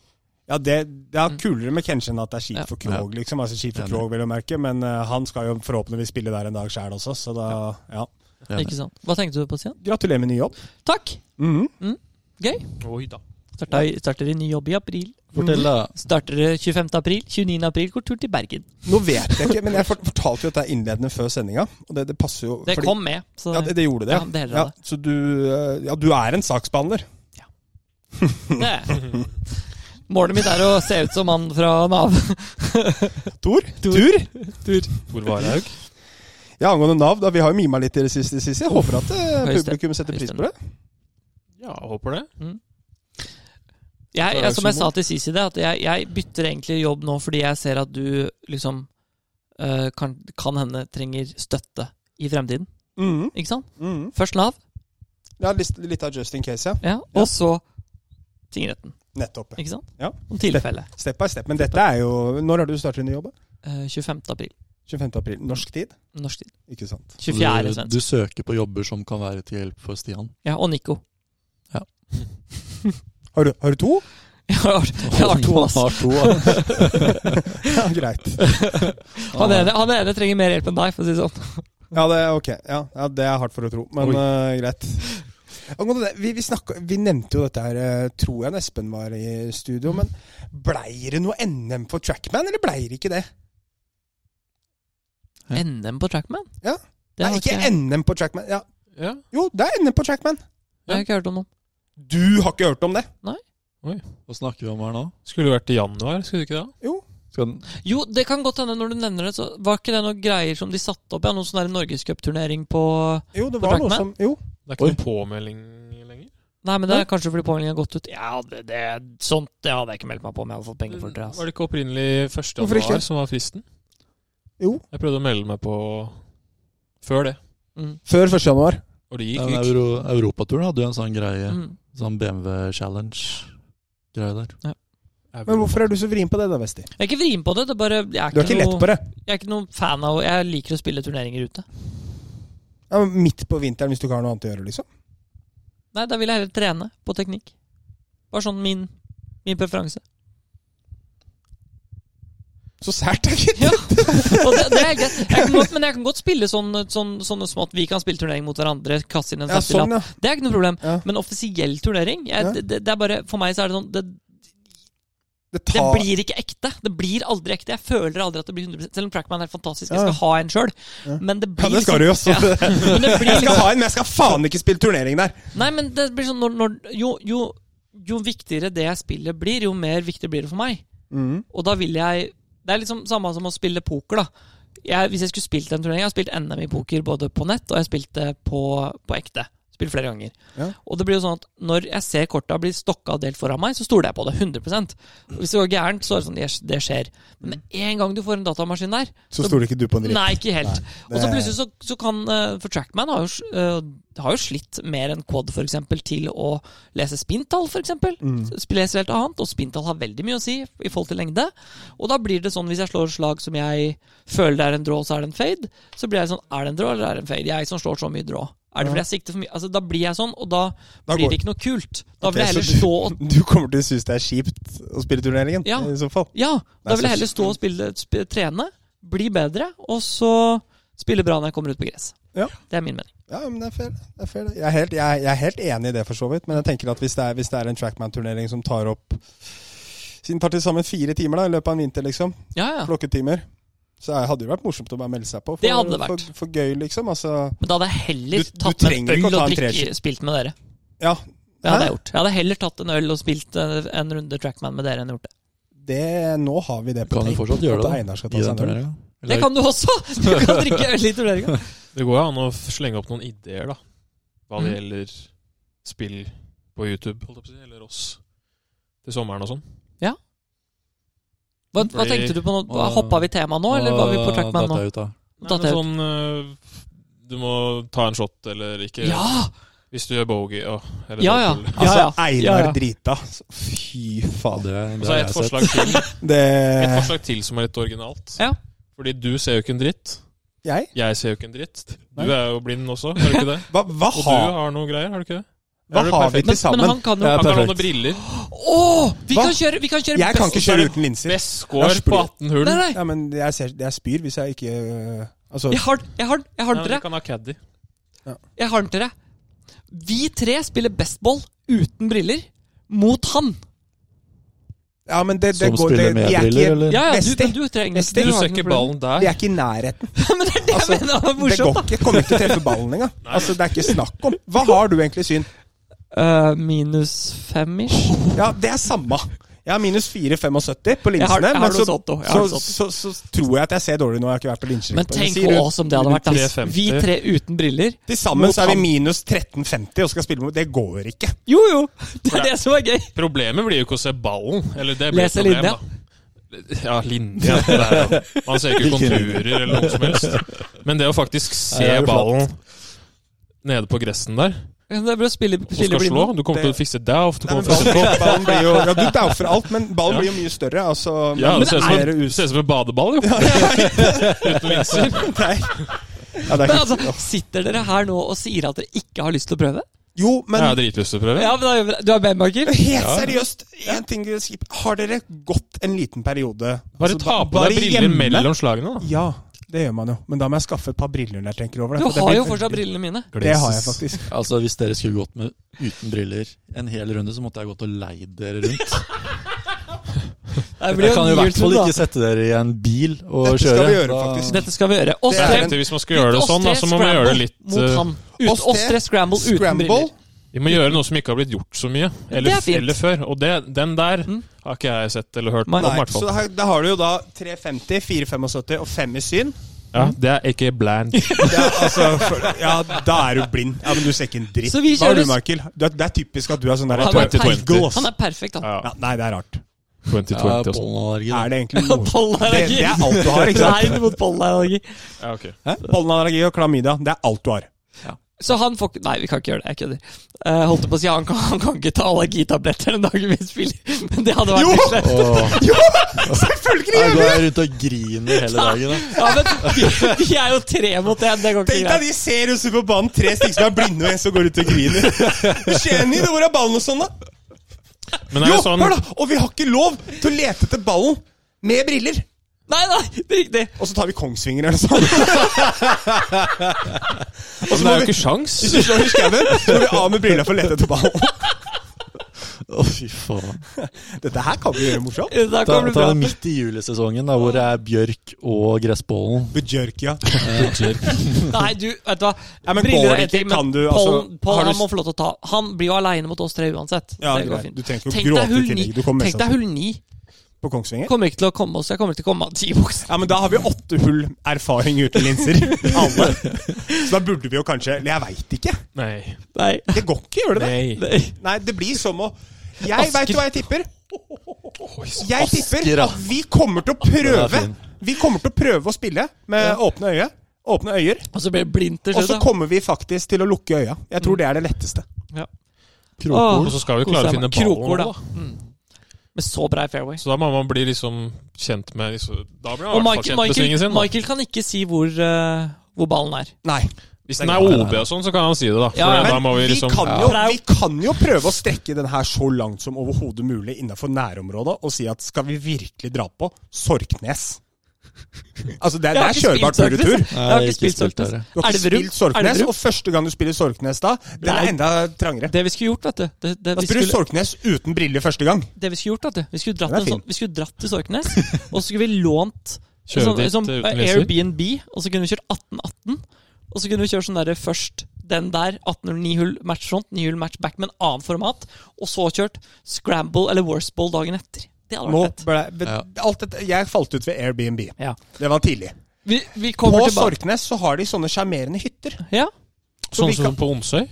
S2: Ja, det, det er kulere med Kenshi enn at det er kjipt
S1: Ja.
S2: for Krog, liksom. Altså kjipt for
S3: Enig.
S2: Krog, vil jeg merke, men eh, han skal jo forhåpentligvis spille der en dag sjæl også, så da Ja.
S3: Jeg er enig.
S1: Ikke sant? Hva tenkte du på, Stian?
S2: Gratulerer med ny jobb.
S1: Takk!
S2: Mhm.
S4: Oi da.
S1: Starta, i- starter i ny jobb i april.
S3: Fortell, da.
S1: Starter eh, 25. april. 29. april går tur til Bergen.
S2: Nå vet jeg ikke, men jeg fort- fortalte jo dette innledende før sendinga, og det, det passer jo
S1: Det
S2: fordi-
S1: kom med. Så
S2: Ja, det, det gjorde det.
S1: Ja, det er det.
S2: så du, eh, ja, du er en saksbehandler.
S1: det. Målet mitt er å se ut som han fra Nav.
S2: Tor?
S1: Tor.
S4: Hvor var jeg?
S2: Ja, angående Nav, da, vi har jo mima litt i det siste, Sissy. Jeg Håper at eh,
S1: Høyeste-
S2: publikum setter pris på det.
S4: Ja, håper det.
S1: Jeg,
S4: Det er
S1: jeg,
S4: jo
S1: som jeg
S4: så
S1: sa til Sisi, det, at jeg, jeg bytter egentlig jobb nå fordi jeg ser at du liksom eh, kan, kan hende trenger støtte i fremtiden.
S2: Mhm,
S1: Ikke sant?
S2: mhm.
S1: Først Nav,
S2: Ja, litt, litt av just in case, ja.
S1: ja,
S2: Ja.
S1: og så tingretten.
S2: Nettopp.
S1: Ikke sant?
S2: Ja.
S1: Om tilfelle.
S2: Step by step. Men dette er jo Når har du startet i ny jobb?
S1: Eh, 25. april.
S2: 25. april. Norsk tid?
S1: Norsk tid.
S2: Ikke sant.
S1: 24.
S3: du,
S1: svensk.
S3: du søker på jobber som kan være til hjelp for Stian.
S1: Ja, og Nico.
S2: Har du, har du to?
S1: Jeg har, jeg har to, ass.
S3: Han har to, ja.
S2: Ja, greit.
S1: Han ene, han ene trenger mer hjelp enn deg, for å si det sånn.
S2: Ja, det er ok. Ja, ja, det er hardt for å tro, men
S4: Oi.
S2: eh, greit. Angående det, vi, vi, snakka, vi nevnte jo dette her, eh, tror jeg, da Espen var i studio. Men blei det noe NM for Trackman, eller blei det ikke det?
S3: Ja.
S1: NM på Trackman?
S2: Ja.
S1: Det har
S2: Nei, ikke
S1: jeg,
S2: NM på Trackman. Ja,
S4: Ja.
S2: jo, det er NM på Trackman.
S1: jeg har ikke hørt om noe.
S2: Du har ikke hørt om det?
S3: Hva snakker vi om her nå?
S4: Skulle vært i januar, skulle du ikke det?
S3: Skal den,
S1: Jo, det kan godt hende når du nevner det, så var ikke det noen greier som de satte opp? Ja, noen sånn der norgescupturnering på
S2: Jo, det
S1: På
S2: var noe
S1: Trackman?
S2: som Jo.
S4: Det er ikke noen påmelding lenger.
S1: Nei, men det er kanskje fordi påmeldingen har gått ut. Ja, det, det, sånt det hadde jeg ikke meldt meg på om jeg hadde fått penger for det.
S4: Var
S1: Altså.
S4: det ikke opprinnelig 1.
S2: Hvorfor ikke?
S4: januar som var fristen?
S2: Jo.
S4: Jeg prøvde å melde meg på før det,
S1: Mm.
S2: Før 1. januar.
S4: og det
S3: den
S4: gikk ikke.
S3: Euro, Europaturen hadde jo en sånn greie.
S1: Mm.
S3: Sånn BMW Challenge-greie der.
S2: Men hvorfor er du så vrien på det da, Vesti?
S1: Jeg er ikke vrien på det. det er bare, jeg, er
S2: Du er
S1: ikke
S2: ikke lett
S1: noe,
S2: på det.
S1: jeg er ikke noen fan av Jeg liker å spille turneringer ute.
S2: Ja, men midt på vinteren hvis du ikke har noe annet å gjøre, liksom.
S1: Nei, da vil jeg heller trene på teknikk. Bare sånn min, min preferanse.
S2: Så sært, da, gitt.
S1: Ja. Og det, det er helt greit. Jeg kan godt, men jeg kan godt spille sånn, sånn, sånne små at vi kan spille turnering mot hverandre. Kaste inn en
S2: Ja,
S1: femtilapp.
S2: sånn, ja.
S1: Det er ikke noe problem.
S2: Ja.
S1: Men offisiell turnering jeg,
S2: Ja.
S1: det- det, det er bare, For meg så er det sånn det,
S2: Det
S1: det
S2: tar
S1: blir ikke ekte. Det blir aldri ekte. Jeg føler aldri at det blir 100 Selv om Trackman er helt fantastisk. Jeg
S2: Ja.
S1: skal ha en sjøl.
S2: Ja.
S1: Men det
S2: Ja,
S1: blir
S2: det skal du jo. så-
S1: Ja. Men det blir
S2: Jeg skal
S1: liksom
S2: ha en, men jeg skal faen ikke spille turnering der.
S1: Nei, men det blir sånn når, når jo, jo, jo viktigere det jeg spiller blir, jo mer viktig blir det for meg.
S2: Mm.
S1: Og da vil jeg Det er liksom samme som å spille poker, da. Jeg, hvis jeg skulle spilt en turnering Jeg har spilt NM i poker både på nett, og jeg spilte på, på ekte. Spilt flere ganger.
S2: Ja.
S1: Og det blir jo sånn at når jeg ser korta bli stokka og delt foran meg, så stoler jeg på det 100 Og Hvis det går gærent, så er det sånn yes, Det skjer. Men med en gang du får en datamaskin der
S2: Så stoler ikke du på en dritt.
S1: Nei, ikke helt.
S2: Nei,
S1: Og så
S2: det-
S1: plutselig så, så kan eh, For Trackman har jo, s- eh, har jo slitt mer enn Quad for eksempel, til å lese spinntall, f.eks.
S2: Mm.
S1: Leser helt annet, og spinntall har veldig mye å si i forhold til lengde. Og da blir det sånn hvis jeg slår slag som jeg føler det er en draw, så er det en fade. Så blir jeg sånn Er det en draw, eller er det en fade? Jeg som slår så mye draw. Er det fordi jeg sikter for mye? Altså, da blir jeg sånn, og da,
S2: Da
S1: blir
S2: går-
S1: det ikke noe kult. Da vil jeg
S2: Ok,
S1: heller
S2: så
S1: stå og
S2: du, du kommer til å synes det er kjipt å spille turneringen?
S1: Ja.
S2: I så fall.
S1: Ja,
S2: Nei,
S1: da vil
S2: så-
S1: jeg heller stå og spille, sp trene, bli bedre, og så spille bra når jeg kommer ut på gress.
S2: Ja.
S1: Det er min mening.
S2: Ja, men det er fair. Det er fair. det. Jeg, er helt, jeg, er- jeg er helt enig i det, for så vidt. Men jeg tenker at hvis det er, hvis det er en Trackman-turnering som tar opp Siden tar til sammen fire timer da, i løpet av en vinter, liksom.
S1: Ja, ja.
S2: Klokketimer. Så det hadde jo vært morsomt å bare melde seg på. For,
S1: Det hadde det vært.
S2: For, for gøy, liksom. Altså,
S1: Men da hadde jeg heller
S2: Du- du
S1: tatt med en
S2: trenger ikke å
S1: øl
S2: ta
S1: og
S2: en
S1: drikke,
S2: treskift.
S1: spilt med dere.
S2: ja,
S1: Det hadde
S2: Hæ?
S1: jeg gjort. Jeg hadde heller tatt en øl og spilt eh, en runde Trackman med dere enn gjort det.
S2: det, nå har vi det på
S3: Kan du
S2: tape,
S3: fortsatt gjøre
S2: at
S3: det,
S2: Einar skal
S3: I
S2: ta
S3: den
S2: seg en øl.
S3: turneringa?
S1: Det kan du også! Du kan drikke øl i turneringa.
S4: Det går jo an å slenge opp noen ideer, da.
S1: Mhm.
S4: Hva det gjelder spill på YouTube, holdt jeg på å si, eller oss til sommeren og sånn.
S1: Hva, hva tenkte du på nå? Hva- Hoppa vi tema nå, eller var vi på Trackman nå?
S3: Ut, da.
S4: Nei,
S1: Datt
S4: men
S1: jeg ut.
S4: sånn øh, Du må ta en shot, eller ikke
S1: Ja!
S4: Hvis du gjør bogey, ja. Eller
S1: Ja, ja.
S4: dobbel.
S1: ja,
S2: Altså,
S1: ja.
S2: Einar
S1: Ja, ja.
S2: drita. Fy fader.
S3: Det,
S4: Og
S3: det
S4: så
S3: har
S4: er
S3: jeg
S4: et
S3: sett.
S4: forslag, til,
S2: Det
S4: et forslag til som er litt originalt.
S1: Ja.
S4: Fordi du ser jo ikke en dritt.
S2: Jeg?
S4: Jeg ser jo ikke en dritt. Du
S2: Nei.
S4: er jo blind også, er du ikke det?
S2: Hva, hva,
S4: Og
S2: har,
S4: du har noe greier, har du ikke det?
S2: hva
S4: er du
S2: har vi
S4: perfekt?
S2: til
S1: Men, men
S2: sammen?
S1: han kan jo
S3: Ja,
S4: Han kan ha
S3: perfekt.
S4: noen briller.
S1: Å! Vi
S2: Hva?
S1: kan kjøre, vi kan kjøre
S2: Jeg kan
S1: best-
S2: ikke kjøre uten linser.
S4: Best
S2: Jeg
S4: score
S2: har
S4: på
S2: spurt.
S4: 18 hull.
S1: Nei, nei.
S2: Ja, men jeg, ser, jeg spyr hvis jeg ikke øh, Altså,
S1: Jeg har den, jeg har den, jeg har
S4: Nei,
S1: den
S4: men
S1: til
S4: vi
S1: deg.
S4: kan ha caddy.
S1: Jeg har den til deg. Vi tre spiller bestball uten briller mot han.
S2: ja, men det, det
S3: Som
S2: går
S3: spiller
S2: det,
S3: med
S2: de, er
S3: briller,
S2: ikke,
S3: eller?
S1: Ja, ja, du,
S2: Besti.
S1: men du trenger
S2: Besti.
S4: Du
S1: har
S4: ser
S1: den
S4: ikke
S1: for-
S4: ballen der.
S2: de er ikke i nærheten. Altså,
S1: Men det er det jeg mener var
S2: Det
S1: morsomt.
S2: går ikke. Kommer ikke til å treffe ballen engang. Altså, det er ikke snakk om. Hva har du egentlig syn?
S1: Eh, minus fem-ish.
S2: Ja, det er samme. Jeg har minus 4,75 på
S1: Jeg har-
S2: linsene.
S1: jeg har
S2: Men
S1: noe
S2: så,
S1: sånt også. Jeg har
S2: så,
S1: noe
S2: så, så, tror jeg at jeg ser dårlig nå. Jeg har ikke vært på linsene.
S1: Men tenk oss om det hadde vært. ass.
S4: 3,50.
S1: Vi tre uten briller.
S2: Til sammen så er vi
S1: mot
S2: minus 13,50 og skal spille mot Det går ikke.
S1: Jo, jo! Det er det som er gøy.
S4: Problemet blir jo ikke å se ballen. Eller det blir
S1: Lese
S4: et problem, da. Ja, linja. Det er, jo- man ser ikke konturer eller noe som helst. Men det å faktisk se
S3: Nei, det er jo
S4: ballen nede på gressen der,
S1: Det er bare å spille,
S4: og
S1: spille
S4: skal slå
S1: blinde.
S4: Du kommer til å fikse det off. Du
S2: Nei,
S4: kommer
S2: men
S4: til å
S2: ballen,
S4: sette på.
S2: blir- ballen blir jo Ja, du daufer alt, men ballen
S4: Ja.
S2: blir jo mye større. Altså,
S4: Ja,
S2: men
S4: det ser ut som,
S2: er
S4: det
S2: us-
S4: ser ut som en badeball, jo. Uten linser.
S2: Nei. Ja, det er
S1: Men
S2: ikke,
S1: altså, Sitter dere her nå og sier at dere ikke har lyst til å prøve?
S2: jo,
S4: Jeg
S2: men
S4: har dritlyst til å prøve.
S1: Ja, men da gjør vi det. Du har benmarker?
S2: Helt seriøst, en ting vil jeg si. Har dere gått en liten periode
S4: Bare
S2: altså,
S4: ta på
S2: bare
S4: deg briller
S2: hjemme?
S4: mellom slagene, da.
S2: Ja, det gjør man jo. Men da må jeg skaffe et par briller når jeg tenker over det. for
S1: Du
S2: det
S1: har
S2: blir
S1: jo fortsatt
S2: veldig-
S1: brillene mine.
S2: Det har jeg faktisk.
S3: Altså, Hvis dere skulle gått med uten briller en hel runde, så måtte jeg gått og leid dere rundt.
S1: Det blir
S3: Jeg
S1: jo
S3: kan jo i
S1: en
S3: hvert
S1: gyltun,
S3: fall
S1: da.
S3: ikke sette dere i en bil og
S2: Dette
S3: kjøre.
S2: skal vi gjøre,
S3: Da-
S2: faktisk.
S1: Dette skal vi gjøre. Oss
S2: Det er
S1: tre,
S4: Jeg tenkte Hvis man skal gjøre det
S1: oss
S4: sånn, da,
S1: tre
S4: så må man gjøre det
S1: scramble
S4: litt
S1: mot
S4: eh,
S1: han. Ut,
S2: Oss tre-
S1: oss tre scramble uten
S2: Scramble?
S1: briller.
S4: Vi må gjøre noe som ikke har blitt gjort så mye. Eller,
S1: Det er fint.
S4: eller før. Og det, den der
S1: Mm.
S4: har ikke jeg sett eller hørt
S1: Nei.
S4: om. i
S2: Nei,
S4: hvert fall.
S2: så her, da har du jo da 3,50, 4,75 og 5 i syn.
S4: Ja,
S1: Mm.
S4: det er ikke bland.
S2: Ja, altså, for, ja, da er du blind. Ja, Men du ser ikke en dritt.
S1: Så vi
S2: Hva har du,
S1: kjører-
S2: Michael? Du, er- det er typisk at du er sånn der
S1: Han
S4: tror
S1: er,
S4: jeg til
S1: perfekt.
S4: 20.
S1: han er perfekt, han.
S4: Ja,
S2: ja, Nei, det er rart.
S3: Ja,
S4: 2020 og sånn.
S3: pollenallergi. da.
S2: Er det egentlig noe det,
S1: Pollenallergi.
S2: det er alt du har, ikke sant?
S1: Nei, mot pollenallergi.
S4: Ja, ok.
S2: Pollenallergi og klamydia, det er alt du har.
S1: Så han får ikke Nei, vi kan ikke gjøre det. Jeg kødder. Eh, holdt jeg på å si han kan, han kan ikke ta allergitabletter den dagen vi spiller. Men det hadde vært
S2: Jo!
S1: litt slett.
S3: Åh,
S2: Selvfølgelig
S3: jeg går rundt og griner hele dagen. Da.
S1: Ja, men vi, vi er jo tre mot én. Det går ikke
S2: Tenk deg,
S1: greit.
S2: de ser ut på banen, tre stykker som er blinde, og en som går ut og griner. Jenny, hvor er ballen og sånn, da?
S4: Men er
S2: Jo,
S4: det sånn
S2: hør da! Og vi har ikke lov til å lete etter ballen med briller!
S1: Nei, nei, det er riktig.
S2: Og så tar vi Kongsvinger eller noe sånt.
S4: Men altså, Det er jo ikke sjans.
S2: Hvis vi slår i skauen, så må vi av med brillene for å lete etter ballen.
S3: Å, fy faen.
S2: Dette her kan vi gjøre morsomt.
S1: Da
S3: Ta,
S1: kommer det
S3: ta
S1: bra.
S3: det midt i julesesongen, da, hvor det er bjørk og gressbollen.
S2: Bujørkia.
S1: Nei, du, vet du hva.
S2: Ja, men
S1: Briller
S2: går
S1: er
S2: det
S1: en ting,
S2: ikke?
S1: men
S2: Kan du,
S1: Pollen,
S2: altså, har
S1: pollen
S2: du-
S1: han må få lov til å ta. Han blir jo aleine mot oss tre uansett.
S2: Ja,
S1: det
S2: greit.
S1: går fint.
S2: Du trenger ikke å
S1: Tenk
S2: gråte
S1: deg hull
S2: i
S1: ni.
S2: tillegg. Du kommer mest
S1: Tenk deg hull ni.
S2: På Kongsvinger?
S1: Kommer ikke til å komme oss. Jeg kommer ikke til å komme av ti bukser.
S2: Ja, men da har vi åtte hull erfaring uten linser. Alle. Så da burde vi jo kanskje Jeg veit ikke.
S4: Nei.
S1: Nei.
S2: Det går ikke, gjør det det?
S4: Nei.
S1: nei.
S2: Nei, det blir som å Jeg veit hva jeg tipper. Jeg
S3: Asker,
S2: tipper
S3: da.
S2: at vi kommer til å prøve.
S3: fin.
S2: Vi kommer til å prøve å spille med åpne øye. Åpne øyer.
S1: Og så blir det blindt til
S2: Og så
S1: slutt. da. Mm.
S2: kommer vi faktisk til å lukke øya. Jeg tror det er det letteste.
S1: Ja.
S3: Krokord.
S4: Og så skal vi
S1: Koser
S4: klare å
S1: jeg
S4: finne
S1: meg. Krokord,
S4: ballen.
S1: da. Mm.
S4: Da.
S1: Med så brei fairway.
S4: Så da må man bli liksom kjent med liksom, Da
S1: Og
S4: blir man i hvert fall
S1: Michael,
S4: kjent med svingen
S1: Michael,
S4: sin. Da.
S1: Michael kan ikke si hvor, eh, hvor ballen er.
S2: Nei.
S4: Hvis den er OB og sånn, så kan han si det, da. For
S1: Ja, ja.
S4: da
S2: Men
S4: må vi
S2: vi
S4: liksom
S2: kan
S1: Ja.
S2: jo, vi kan jo prøve å strekke den her så langt som overhodet mulig innenfor nærområdet og si at skal vi virkelig dra på Sorknes? Altså, det, er- det
S1: Jeg har
S2: er
S1: ikke
S2: kjørbart
S1: spilt Sørknes,
S2: fugletur.
S1: jeg. Jeg har ikke spilt Sørknes.
S3: dere.
S2: Du har ikke
S1: Elverum.
S2: spilt Sorknes,
S1: Elverum.
S2: og første gang du spiller Sorknes da, den
S1: Nei.
S2: er enda trangere.
S1: Det vi skulle gjort, vet du Det,
S2: Da
S1: det, vi,
S2: spiller du
S1: skulle,
S2: Sorknes Altså, uten briller første gang.
S1: det vi skulle gjort, vet du Vi skulle dratt,
S2: Den er
S1: en sånn,
S2: fin.
S1: vi skulle dratt til Sorknes, og så skulle vi lånt
S4: Kjøre
S1: sånn,
S4: dit
S1: sånn,
S4: eh,
S1: eh,
S4: uten linser.
S1: Airbnb, og så kunne vi kjørt 18-18. Og så kunne vi kjøre sånn derre først den der, 18-9 hull match front, 9 hull match back, med en annen format. Og så kjørt scramble eller worst ball dagen etter. Det hadde
S2: Nå
S1: vært fett.
S2: ble, be,
S3: Ja.
S2: alt dette, jeg falt ut ved Airbnb.
S1: Ja.
S2: Det var tidlig.
S1: Vi, vi
S2: På
S1: kommer tilbake.
S2: Sorknes så har de sånne sjarmerende hytter.
S1: Ja.
S2: vi
S4: Sånn
S2: kan-
S4: som på Onsøy?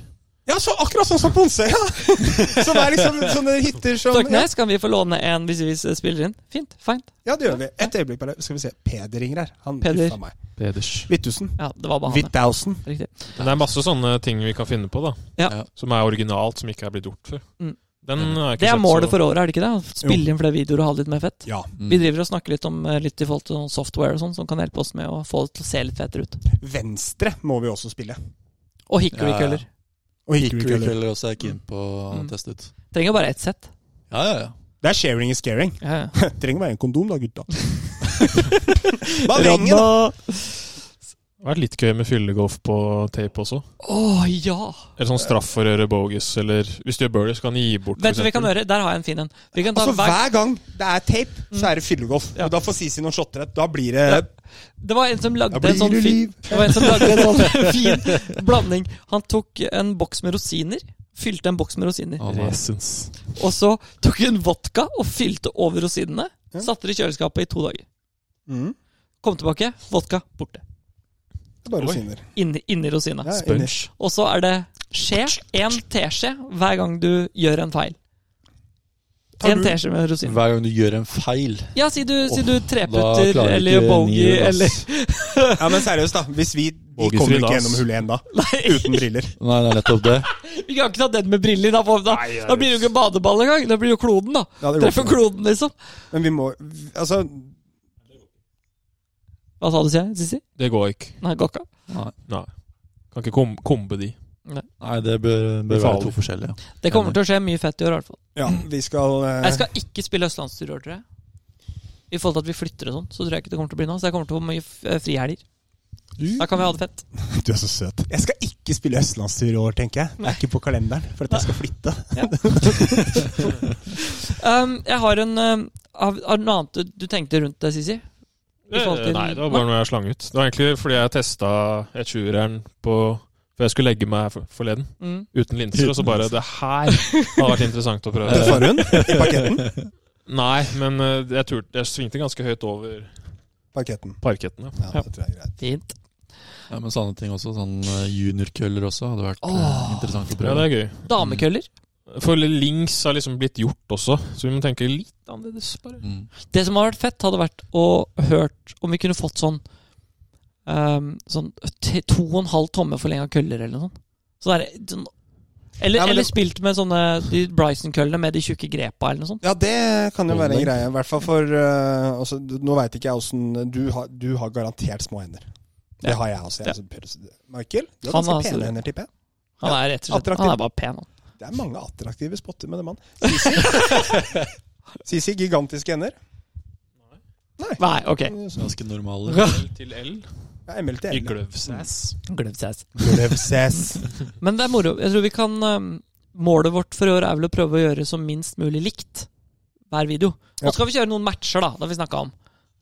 S2: Ja, så akkurat sånn som på Onsøy! Ja. Så det er liksom sånne hytter som ja,
S1: Sorknes kan vi få låne en hvis vi spiller inn. Fint. Fint.
S2: ja, det gjør vi. Et øyeblikk bare. Skal vi se. Peder ringer her. Han
S1: Peder.
S2: uffa meg.
S4: Peders.
S2: Vittusen.
S1: Ja, det var bare han. ja.
S2: Withausen.
S1: Riktig.
S4: Men det er masse sånne ting vi kan finne på, da.
S1: Ja.
S3: Ja.
S4: Som er originalt, som ikke er blitt gjort før.
S1: Mm.
S4: Den har jeg ikke
S1: Det er
S4: sett
S1: målet
S4: så
S1: for året, er det ikke det? Å Spille inn flere videoer og ha det litt mer fett.
S2: Ja.
S1: Vi driver og snakker litt om eh, litt i forhold til noen software og sånn, som kan hjelpe oss med å få det til å se litt fetere ut.
S2: Venstre må vi også spille.
S1: Og hickory-køller.
S2: Og Hickory
S3: Hickory
S2: Keller.
S3: Keller også er keen på å
S1: Mm.
S3: teste ut.
S1: Trenger bare ett sett.
S3: Ja, ja, ja.
S2: Det er sharing is caring.
S1: Ja, ja.
S2: Trenger bare en kondom da, gutta. Hva ringer da?
S4: Det har vært litt gøy med fyllegolf på tape også.
S1: Å ja!
S4: Eller sånn straff for å gjøre bogus, eller hvis du gjør birdie, så kan du gi bort.
S1: Vet du hva vi
S4: for
S1: kan
S4: eksempel.
S1: gjøre? Der har jeg en fin en. Vi kan ta
S2: Altså
S1: hver...
S2: Hver gang det er tape, så er det fyllegolf.
S1: Ja.
S2: Og da får Sisi noen shotter. Da blir det
S1: Ja. Det var en som lagde
S2: Da blir
S1: en sånn
S2: du
S1: fin,
S2: liv.
S1: det var en som lagde en sånn fin blanding. Han tok en boks med rosiner, fylte en boks med rosiner.
S3: Å, nei.
S4: Resens.
S1: Og så tok hun vodka og fylte over rosinene. Satte det i kjøleskapet i to dager.
S2: mm,
S1: Kom tilbake, vodka borte.
S2: det er bare
S4: Oi.
S2: rosiner.
S1: Inni, inni rosina.
S2: Ja,
S4: Sponge.
S2: inni.
S1: Og så er det skje, én teskje, hver gang du gjør en feil.
S2: Tar
S1: en
S2: du-
S1: teskje med rosiner.
S3: Hver gang du gjør en feil,
S1: Ja, si du, si du
S3: da
S1: treputter
S3: klarer du
S1: eller
S3: ikke ni
S1: bogey
S3: hull,
S1: eller
S3: ass.
S2: Ja, men seriøst, da. Hvis vi, vi
S4: Bogus
S2: kommer ikke
S4: Fridas.
S2: gjennom hull én da.
S1: Nei,
S2: Uten briller.
S3: Nei, det er nettopp det.
S1: vi kan ikke ta den med briller. Da, for da, da blir det jo ikke badeball engang. Da blir det jo kloden, da.
S2: Ja, det går
S1: Treffer
S2: ikke.
S1: kloden, liksom.
S2: Men vi må Altså,
S1: Hva sa du, sier jeg? Sissi?
S4: Det går ikke.
S1: Nei, går ikke.
S3: Nei,
S4: Nei. Kan ikke kom kombe de.
S3: Nei det bør, bør være to forskjellige.
S1: Det kommer til å skje mye fett i år, i hvert fall.
S2: ja, vi skal eh,
S1: Jeg skal ikke spille østlandstur i år, tror jeg. I forhold til at vi flytter og sånn, så tror jeg ikke det kommer til å bli noe. Så jeg kommer til å få mye eh, frihelger. Da kan vi ha det fett.
S2: Du er så søt. Jeg skal ikke spille østlandstur i år, tenker jeg. Det er ikke på kalenderen, for at jeg skal flytte.
S1: Um, jeg har en um, Har har du noe annet du- du tenkte rundt det, Sisi? I forhold til-
S4: Nei, det var bare noe jeg slang ut. Det var egentlig fordi jeg testa E20-eren på Før jeg skulle legge meg for- forleden,
S1: Mm.
S4: uten linser, og så bare Det her har vært interessant å
S2: Det
S4: prøve.
S2: får hun i parketten.
S4: Nei, men eh, jeg, turte, jeg svingte ganske høyt over
S2: Parketten.
S4: parkettene.
S2: Ja, det tror jeg er greit.
S1: Fint.
S3: Ja, men sånne ting også. Sånn eh, juniorkøller også hadde vært eh,
S1: Åh.
S3: interessant å
S4: Ja,
S3: prøve.
S4: det er gøy.
S1: Damekøller.
S4: For links har liksom blitt gjort også, så vi må tenke litt annerledes. bare.
S3: Mm.
S1: Det som hadde vært fett, hadde vært å hørt om vi kunne fått sånn um, Sånn t- to og en halv tomme forlenga køller eller noe sånt. Så der, sånn eller,
S2: Ja, men
S1: eller
S2: det-
S1: spilt med sånne de Bryson-køllene med de tjukke grepa eller noe sånt.
S2: Ja, det kan jo være en
S3: Holdning.
S2: greie. I hvert fall for eh, altså, d- Nå veit ikke jeg åssen eh, du, har- du har garantert små hender. Det
S1: Ja.
S2: har jeg også. Jeg,
S1: Ja.
S2: er så pøs- Michael, du har
S1: Han
S2: ganske
S1: har
S2: pene
S1: også-
S2: hender, tipper jeg.
S1: Han er rett og slett
S2: attraktiv.
S1: Han er bare pen. han.
S2: Det er mange attraktive spotter med den mannen. Sisi, Sisi gigantiske hender. Mm,
S1: Nei, ok.
S3: Ganske normale.
S4: L til L
S2: Ja, MLT.
S4: i gløvsnes.
S1: Gløvsaus.
S2: Gløvses.
S1: Men det er moro. Jeg tror vi kan um, Målet vårt for i år er vel å prøve å gjøre som minst mulig likt hver video.
S2: Ja.
S1: Nå skal vi kjøre noen matcher, da. Det har vi snakket om.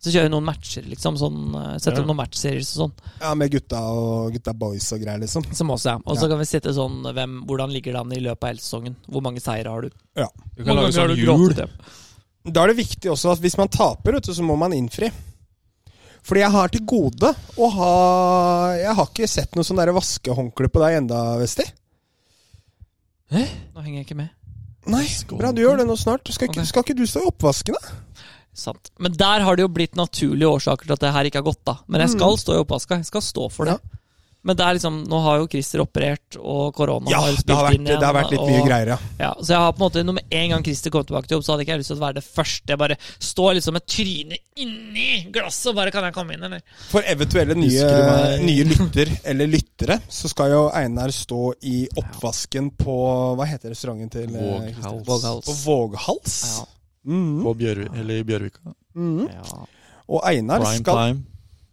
S1: Så kjøre noen matcher, liksom. Sånn, uh, sette
S4: Ja.
S1: opp noen matchseries og sånn.
S2: Ja, med gutta og gutta boys og greier, liksom.
S1: Som også er. Og så
S2: Ja.
S1: kan vi sette sånn hvem, hvordan ligger det an i løpet av hele sesongen. Hvor mange seire har du?
S4: Du kan lage sånn hjul.
S1: gråtet? hjem?
S2: Da er det viktig også at hvis man taper, vet du, så må man innfri. Fordi jeg har til gode å ha Jeg har ikke sett noe sånn der vaskehåndkle på deg enda, Vesti.
S1: Nå henger jeg ikke med.
S2: Nei, bra, du gjør det nå snart. Skal ikke,
S1: Ok.
S2: skal ikke du stå i oppvasken, da?
S1: Sant. Men der har det jo blitt naturlige årsaker til at det her ikke har gått, da. Men jeg skal stå i oppvaska. Jeg skal stå for det. Men det er liksom, nå har jo Christer operert, og korona
S2: Ja,
S1: har
S2: det
S1: spilt
S2: har vært,
S1: inn
S2: det
S1: igjen.
S2: har vært litt mye
S1: og-
S2: greier, ja.
S1: Ja, så jeg har på en måte, når med en gang Christer kom tilbake til jobb, så hadde ikke jeg lyst til å være det første. Jeg bare står liksom med trynet inni glasset og bare Kan jeg komme inn, eller?
S2: For eventuelle nye,
S3: Husker du meg?
S2: nye lytter eller lyttere, så skal jo Einar stå i oppvasken på Hva heter restauranten til eh, Christian?
S3: Våghals.
S1: Våghals.
S2: På Våghals.
S1: Ja.
S2: Mhm.
S3: På Bjørvi, eller i Bjørvika.
S2: Mhm.
S1: Ja.
S2: Og Einar
S3: Prime
S2: skal
S3: time.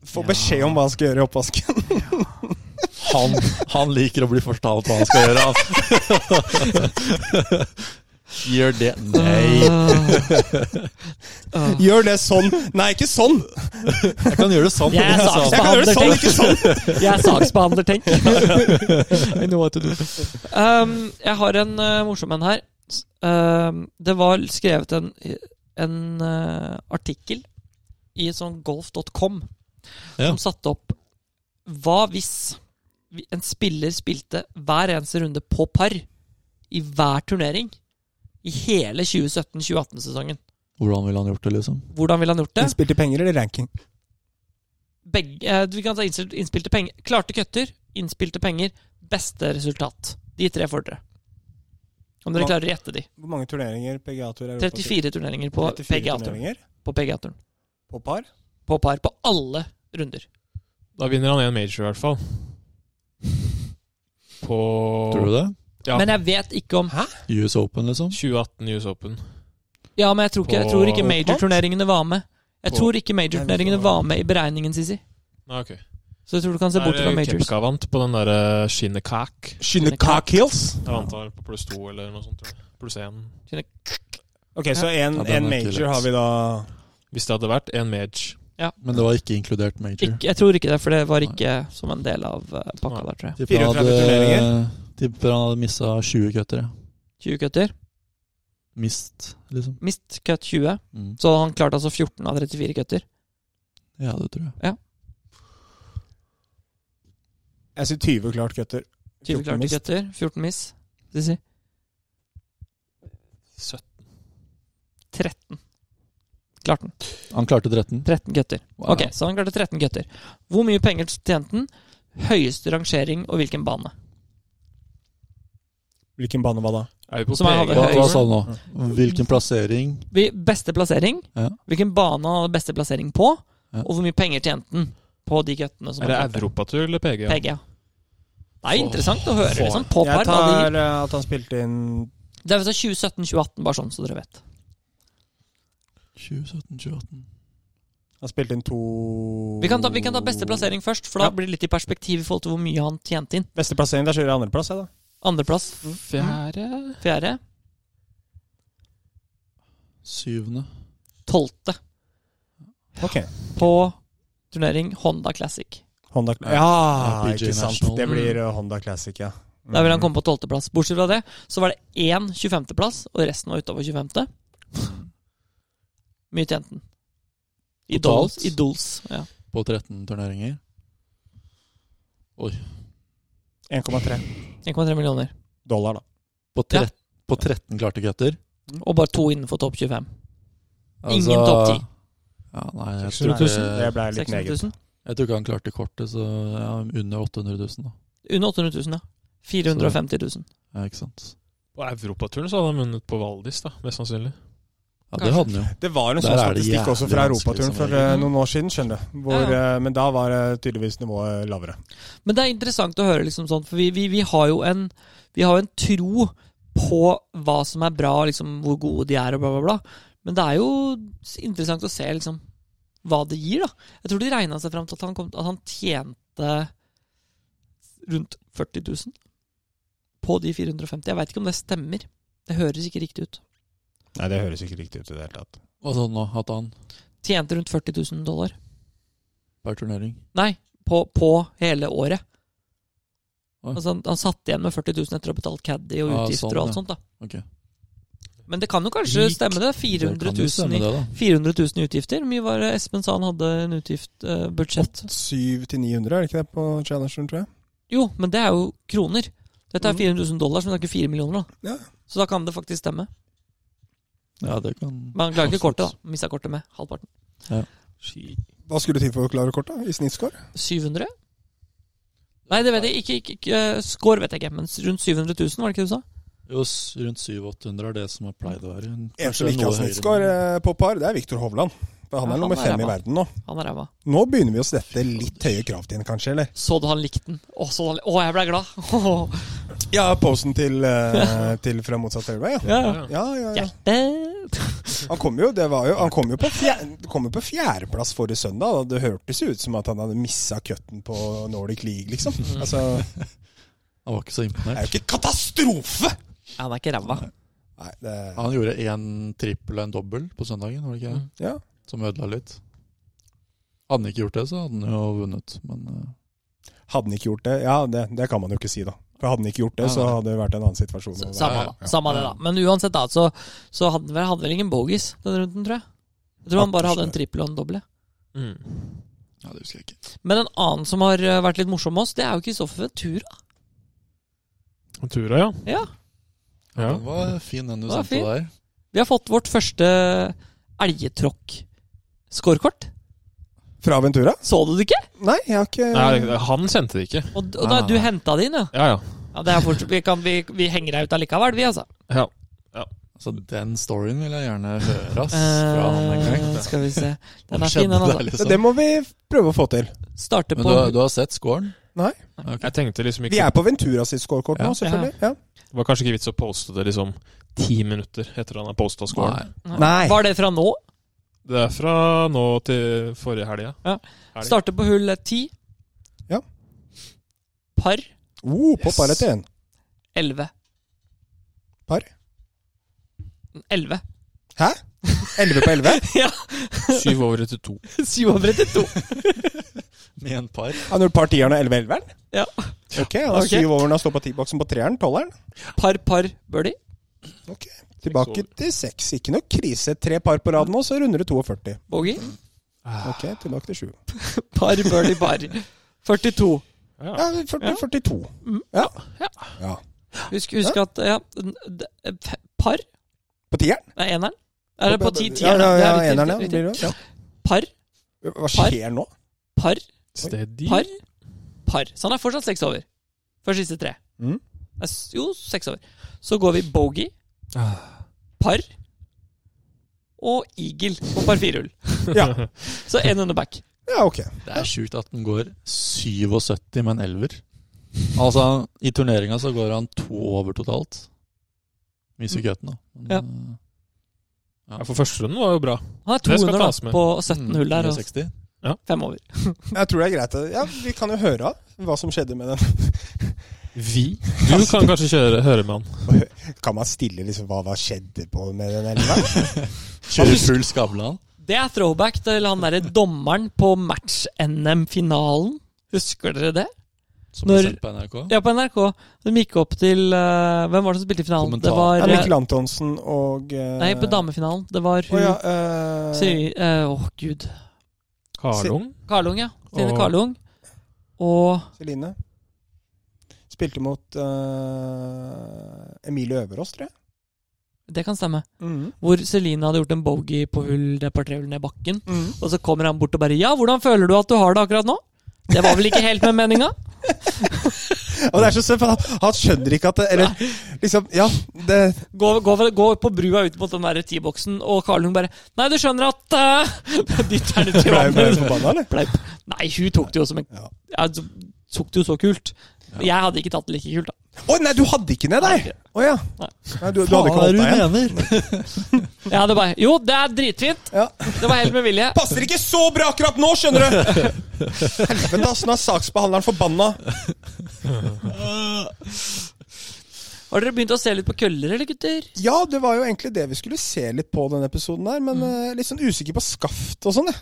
S2: få beskjed om hva han skal gjøre i oppvasken.
S3: Han, han liker å bli fortalt hva han skal gjøre. Han. Gjør det Nei,
S2: Gjør det sånn. Nei, ikke sånn!
S3: jeg kan gjøre det sånn.
S1: Jeg er
S3: sa han.
S2: Jeg kan gjøre det sånn,
S1: saksbehandler,
S2: ikke sånn!
S1: tenk! Jeg er saksbehandler, tenk!
S3: I know what to do.
S1: Um, jeg har en eh, morsom en her. S- Um, det var skrevet en, en eh, artikkel i sånn golf.com
S3: Ja.
S1: som satte opp Hva hvis vi- en spiller spilte hver eneste runde på par i hver turnering i hele 2017-2018-sesongen?
S3: Hvordan ville han gjort det, liksom?
S1: Hvordan ville han gjort det?
S2: Innspill til penger eller ranking?
S1: Begge, eh, du kan ta innspill- innspilte penger. Klarte kutter, innspilte penger, beste resultat. De tre får dere. Om dere
S2: Hva-
S1: klarer å gjette de.
S2: Hvor mange turneringer PGA-tur er
S1: 34 turneringer på
S2: 34
S1: PGA-turen.
S2: turneringer
S1: På PGA-turen.
S2: på par.
S1: På par. På alle runder.
S4: Da vinner han en major, i hvert fall. På
S3: Tror du det?
S4: Ja.
S1: Men jeg vet ikke om
S3: US Open, liksom?
S4: 2018 US Open.
S1: Ja, men jeg tror ikke, jeg tror ikke
S4: På-
S1: major-turneringene var med. Jeg
S4: På-
S1: tror ikke major-turneringene var med i beregningen, Sisi.
S4: Nei, ok.
S1: Så jeg tror du kan se bort fra majors.
S4: Kepka vant på den eh, derre Shinnekak.
S2: Shinnecock Hills.
S4: Jeg vant han på pluss to eller noe sånt, tror jeg. Pluss én.
S2: Ok, så en,
S3: Ja,
S2: en
S3: den er ikke
S2: major
S3: lett.
S2: har vi da
S4: Hvis det hadde vært en mage.
S3: Men det var ikke inkludert major.
S1: Ikke, jeg tror ikke det, for det var ikke som en del av eh, pakka
S4: Nei.
S1: der, tror jeg.
S3: Tipper
S2: 34
S3: han hadde,
S2: turneringer.
S3: tipper han hadde missa 20 cutter. jeg.
S1: 20 cutter.
S3: Mist, liksom.
S1: Mist cut 20.
S3: Mm.
S1: Så han klarte altså 14 av 34 cutter.
S3: Ja, det tror jeg.
S2: Jeg sier 20 klart cutter.
S1: 20 klarte
S2: mist.
S1: cutter, 14 miss. Sisi.
S4: 17.
S1: 13. Klarte han.
S3: Han klarte 13.
S1: 13 gutter.
S3: Wow.
S1: Ok, så han klarte 13 gutter. Hvor mye penger tjente han? Høyeste rangering og hvilken bane?
S2: Hvilken bane var da?
S4: Er vi på
S1: Som jeg hadde
S3: Hva,
S4: PGA?
S3: hva sa du nå? Mm. Hvilken plassering?
S1: Vi- Beste plassering.
S3: Ja.
S1: Hvilken bane han hadde beste plassering på?
S3: Ja.
S1: Og hvor mye penger tjente han på de guttene? Som
S4: Er det
S1: han klarte?
S4: europatur eller PGA?
S1: PGA. Det er interessant å høre.
S4: Få-
S1: Liksom, på par,
S2: Jeg
S1: hva
S2: tar
S1: de-
S2: eh, at han spilte inn
S1: Det er vel sånn 2017-2018, bare sånn så dere vet.
S3: 2017, 2018
S2: Han spilte inn to
S1: Vi kan, ta, vi kan ta beste plassering først, for da
S2: Ja.
S1: blir det litt i perspektiv i forhold til hvor mye han tjente inn.
S2: Beste plassering, da kjører jeg andreplass, jeg, da.
S1: Andreplass,
S4: Fjerde
S1: fjerde,
S3: Syvende.
S1: tolvte
S2: Ok.
S1: på turnering Honda Classic.
S2: Honda
S3: Ja.
S2: Classic. Ja,
S3: Ja, PG
S2: ikke sant.
S3: National.
S2: Det blir eh, Honda Classic, ja.
S1: Der
S2: Mm.
S1: vil han komme på tolvteplass. Bortsett fra det, så var det én 25.-plass, og resten var utover 25. Mye tjente han. I
S3: Totalt?
S1: dolls. I dolls ja.
S3: På 13 turneringer.
S2: Mm. 1,3
S1: 1,3 millioner.
S2: dollar, da.
S3: På, tre, på 13 klarte cutter.
S1: Og bare to innenfor topp 25. Ingen topp 10.
S3: Altså- Ja, nei, jeg
S2: 600 000.
S3: tror,
S2: Det
S3: ikke,
S2: ble litt
S1: 600
S2: meget.
S1: 000.
S3: jeg tror ikke han klarte kortet, så ja, under 800 000, da.
S1: Under 800 000, ja. 450 000.
S3: Ja, ikke sant.
S4: På europaturen så hadde han vunnet på Valdis, da, mest sannsynlig.
S3: Ja,
S1: Kanskje.
S3: det hadde han jo.
S2: Det var en
S3: Der
S2: sånn
S3: er det
S2: statistikk
S3: jævlig
S2: også fra
S3: vanskelig
S2: europaturen
S3: som
S2: for
S3: regel.
S2: eh, noen år siden, skjønner du. Hvor,
S1: Ja.
S2: eh, Men da var eh, tydeligvis nivået lavere.
S1: Men det er interessant å høre, liksom sånn, for vi, vi, vi har jo en Vi har jo en tro på hva som er bra, liksom hvor gode de er, og bla, bla, bla. Men det er jo interessant å se liksom hva det gir, da. Jeg tror de regna seg fram til at han, kom, at han tjente rundt 40 000 på de 450. Jeg veit ikke om det stemmer. Det høres ikke riktig ut.
S2: Nei, det høres ikke riktig ut i det hele tatt.
S3: Hva sa han nå? At han
S1: Tjente rundt 40 000 dollar.
S3: per turnering?
S1: Nei, på, på hele året.
S3: Oi.
S1: Altså, han, han satt igjen med 40 000 etter å ha betalt caddy og
S3: Ah,
S1: utgifter
S3: sånn,
S1: og alt
S3: ja.
S1: sånt. da.
S3: Ok.
S1: Men det kan jo kanskje
S3: Lik.
S1: stemme, det.
S3: Det
S1: 400
S3: kan jo
S1: 000
S3: stemme,
S1: i,
S3: det, da.
S1: 400 000 i utgifter. Hvor mye var det Espen sa han hadde en utgift eh, budsjett?
S2: 7 til 900, er det ikke det på Challenger'n, tror jeg?
S1: Jo, men det er jo kroner. Dette er
S3: Mm.
S2: Mhm.
S1: 400 000 dollar, så det er ikke 4 millioner. da.
S2: Ja.
S1: Så da kan det faktisk stemme.
S3: Ja, det kan
S1: Men han klarer ikke
S3: Absolutt.
S1: kortet, da. Mista kortet med halvparten.
S2: Hva skulle til for å klare kortet i snittscore?
S1: 700? Nei, det vet jeg ikke. ikke, ikke eh, score vet jeg ikke, men rundt 700 000, var det ikke det du sa?
S3: Jo, s- rundt 700-800 er det som har pleid å være.
S2: En som
S3: Kanskje
S2: ikke har
S3: noe høyere,
S2: snittscore
S3: men-
S2: eh, på par, det er Viktor Hovland. For han er
S1: Ja, han
S2: nummer
S1: er
S2: fem i
S1: ræva.
S2: verden nå.
S1: Han er ræva.
S2: Nå begynner vi å sette litt høye krav til henne, kanskje, eller?
S1: Så du han likte den? Å, så du han, å jeg ble glad!
S2: Ja, posen til, eh, til fra motsatt elve, ja.
S1: ja.
S4: Ja.
S2: Ja, ja, ja.
S1: Hjerte
S2: Han kom jo, det var jo, han kom jo på, fjer, kom jo på fjerdeplass forrige søndag, og det hørtes jo ut som at han hadde missa cutten på Nordic League, liksom. Altså,
S3: Han var ikke så
S2: det er jo
S3: imponert.
S2: ikke katastrofe!
S1: Ja, han er ikke ræva.
S2: Nei, det
S3: Han gjorde én trippel og en dobbel på søndagen, var det ikke?
S4: Mm.
S2: Ja.
S3: Som ødela litt. Hadde han ikke gjort det, så hadde han jo vunnet, men eh,
S2: Hadde han ikke gjort det Ja, det, det kan man jo ikke si, da. For hadde han ikke gjort det, så hadde det vært en annen situasjon.
S1: S-
S2: Og- sånn.
S1: Samme, da. Samme det, da. Men uansett, da, så, så hadde han vel, hadde vel ingen bogies denne runden, tror jeg. Jeg tror han bare hadde en trippel og en doble.
S4: Mm.
S3: Ja, det husker jeg ikke.
S1: Men en annen som har eh, vært litt morsom med oss, det er jo Kristoffer Ventura.
S4: Tura, ja.
S1: Ja.
S4: ja.
S3: Den var fin, den du
S1: Den var
S3: sendte
S1: fin.
S3: der.
S1: Vi har fått vårt første elgetråkk-scorekort.
S2: Fra Ventura?
S1: Så du det ikke?
S2: Nei, jeg har ikke
S4: Nei, det- han sendte det ikke.
S1: Og, og da,
S3: Ah.
S4: Nei,
S1: du
S4: nei.
S1: henta det inn, ja.
S4: Ja, ja.
S1: ja det er fort, vi, kan, vi, vi henger deg ut allikevel, vi, altså.
S4: ja.
S3: Altså, den storyen vil jeg gjerne høre, ass. Fra han en gang.
S1: Eh, skal vi se. Den er
S3: Hva
S1: fin,
S3: skjedde
S1: den,
S3: der,
S1: altså.
S2: det,
S3: liksom?
S2: det må vi prøve å få til.
S1: Starte
S3: Men
S1: på
S3: du, har- du har sett scoren?
S2: Nei.
S3: Ok.
S4: Jeg tenkte liksom
S2: Vi
S4: ikke
S2: er på Ventura sitt scorekort nå,
S3: Ja.
S2: selvfølgelig. Ja.
S4: Det var kanskje ikke vits å poste det liksom ti minutter etter han har posta scoren.
S3: Nei.
S2: Nei.
S1: Var det fra nå?
S4: Det er fra nå til forrige helg.
S1: Ja.
S4: Helg.
S1: Starte på hull ti.
S2: Ja.
S1: Par
S2: Oh, på
S4: Yes.
S2: par etter en.
S1: elleve.
S2: Par?
S1: Elleve.
S2: Hæ? 11 på 11?
S4: Syv over etter to.
S1: Syv over etter to.
S3: Med en par.
S2: Han gjorde par tieren og 11 elveren?
S1: Ja.
S2: Ok, han har
S1: Ok.
S2: syv over når han står på tiboksen på treeren, tolveren.
S1: Par, par, birdie.
S2: Ok, Tilbake til seks. Ikke noe krise. Tre par på rad nå, så runder det 42.
S1: Bogey.
S2: Ok, tilbake til sju.
S1: Par, birdie, par. 42.
S4: Ja.
S2: Ja, 40, 42.
S1: Mm.
S2: Ja.
S1: Ja.
S2: ja.
S1: Husk, husk at ja, n- d- f- Par
S2: På tieren?
S1: Nei, eneren. Er det på ti?
S2: Ja,
S1: Tieren.
S2: ja, ja,
S1: det er riktig,
S2: eneren, ja.
S1: riktig,
S2: Blir
S1: riktig.
S2: det, ja.
S1: Par,
S2: Hva skjer nå?
S1: par,
S4: Steady.
S1: par. Par. Så han er fortsatt seks over. For siste tre.
S2: Mm.
S1: Det er s- Jo, seks over. Så går vi bogey,
S2: Ah.
S1: par og eagle på par fire hull.
S2: Ja.
S1: Så én under back.
S2: ja, ok.
S3: Det er sjukt at den går 77 med en elver. Altså, i turneringa så går han to over totalt. Viser cutten, da. Men,
S1: Ja.
S3: eh,
S4: Ja, for første runden var jo bra.
S1: Han er to
S4: Det skal
S1: under da,
S4: tas med. Mm.
S1: på
S3: eh,
S1: 17 hull der, altså. og
S3: 160.
S1: fem over.
S2: Jeg tror det er greit. å- Ja, Vi kan jo høre av hva som skjedde med den.
S4: Vi? Du kan kanskje kjøre, høre med han.
S2: Kan man stille liksom hva hva skjedde på med den elveren?
S3: Kjører full Skavlan.
S1: Det er throwback til han derre dommeren på match-NM-finalen. Husker dere det?
S3: Som Når...
S1: Når-
S3: sendt på NRK.
S1: Ja, på NRK. De gikk opp til eh, Hvem var det som spilte i finalen?
S3: Kommentar.
S2: Ja,
S1: Det var eh,
S2: Mikkel Antonsen og eh,
S1: Nei, på damefinalen. Det var
S2: Å
S1: hun
S2: ja,
S1: Åh,
S2: eh,
S1: gud.
S4: Karlung?
S1: Karlung, ja. Trine
S4: Og-
S1: Karlung. Og
S2: Celine. Spilte mot eh, Emilie Øverås, tror jeg.
S1: Det kan stemme. Hvor Celine hadde gjort en bogey på hull det par tre hull ned bakken.
S2: Mm.
S1: Og så kommer han bort og bare Ja, hvordan føler du at du har det akkurat nå? Det var vel ikke helt med meninga?
S2: Og det er så søtt, for han, han skjønner ikke at det, Eller liksom Ja, det
S1: Gå, gå, gå på brua ut mot den derre T-boksen, og Karlung bare Nei, du skjønner at eh, Ditt er det til
S2: Ble ble hun
S1: vannet.
S2: forbanna, eller?
S1: Bleip. Nei, hun tok det jo som en
S2: Ja.
S1: ja, så- Tok det jo så kult. Jeg hadde ikke tatt det like kult, da.
S2: Å nei, du hadde ikke ned deg! Å ja.
S1: Nei.
S2: Nei, du, du hadde ikke holdt deg igjen.
S3: mener?
S1: Jeg hadde bare Jo, det er dritfint!
S2: Ja.
S1: Det var helt med vilje.
S2: Passer ikke så bra akkurat nå, skjønner du! Helvete, ass. Nå er saksbehandleren forbanna.
S1: Har dere begynt å se litt på køller, eller, gutter?
S2: Ja, det var jo egentlig det vi skulle se litt på denne episoden her, men
S1: Mm.
S2: eh, litt sånn usikker på skaft og sånn, jeg.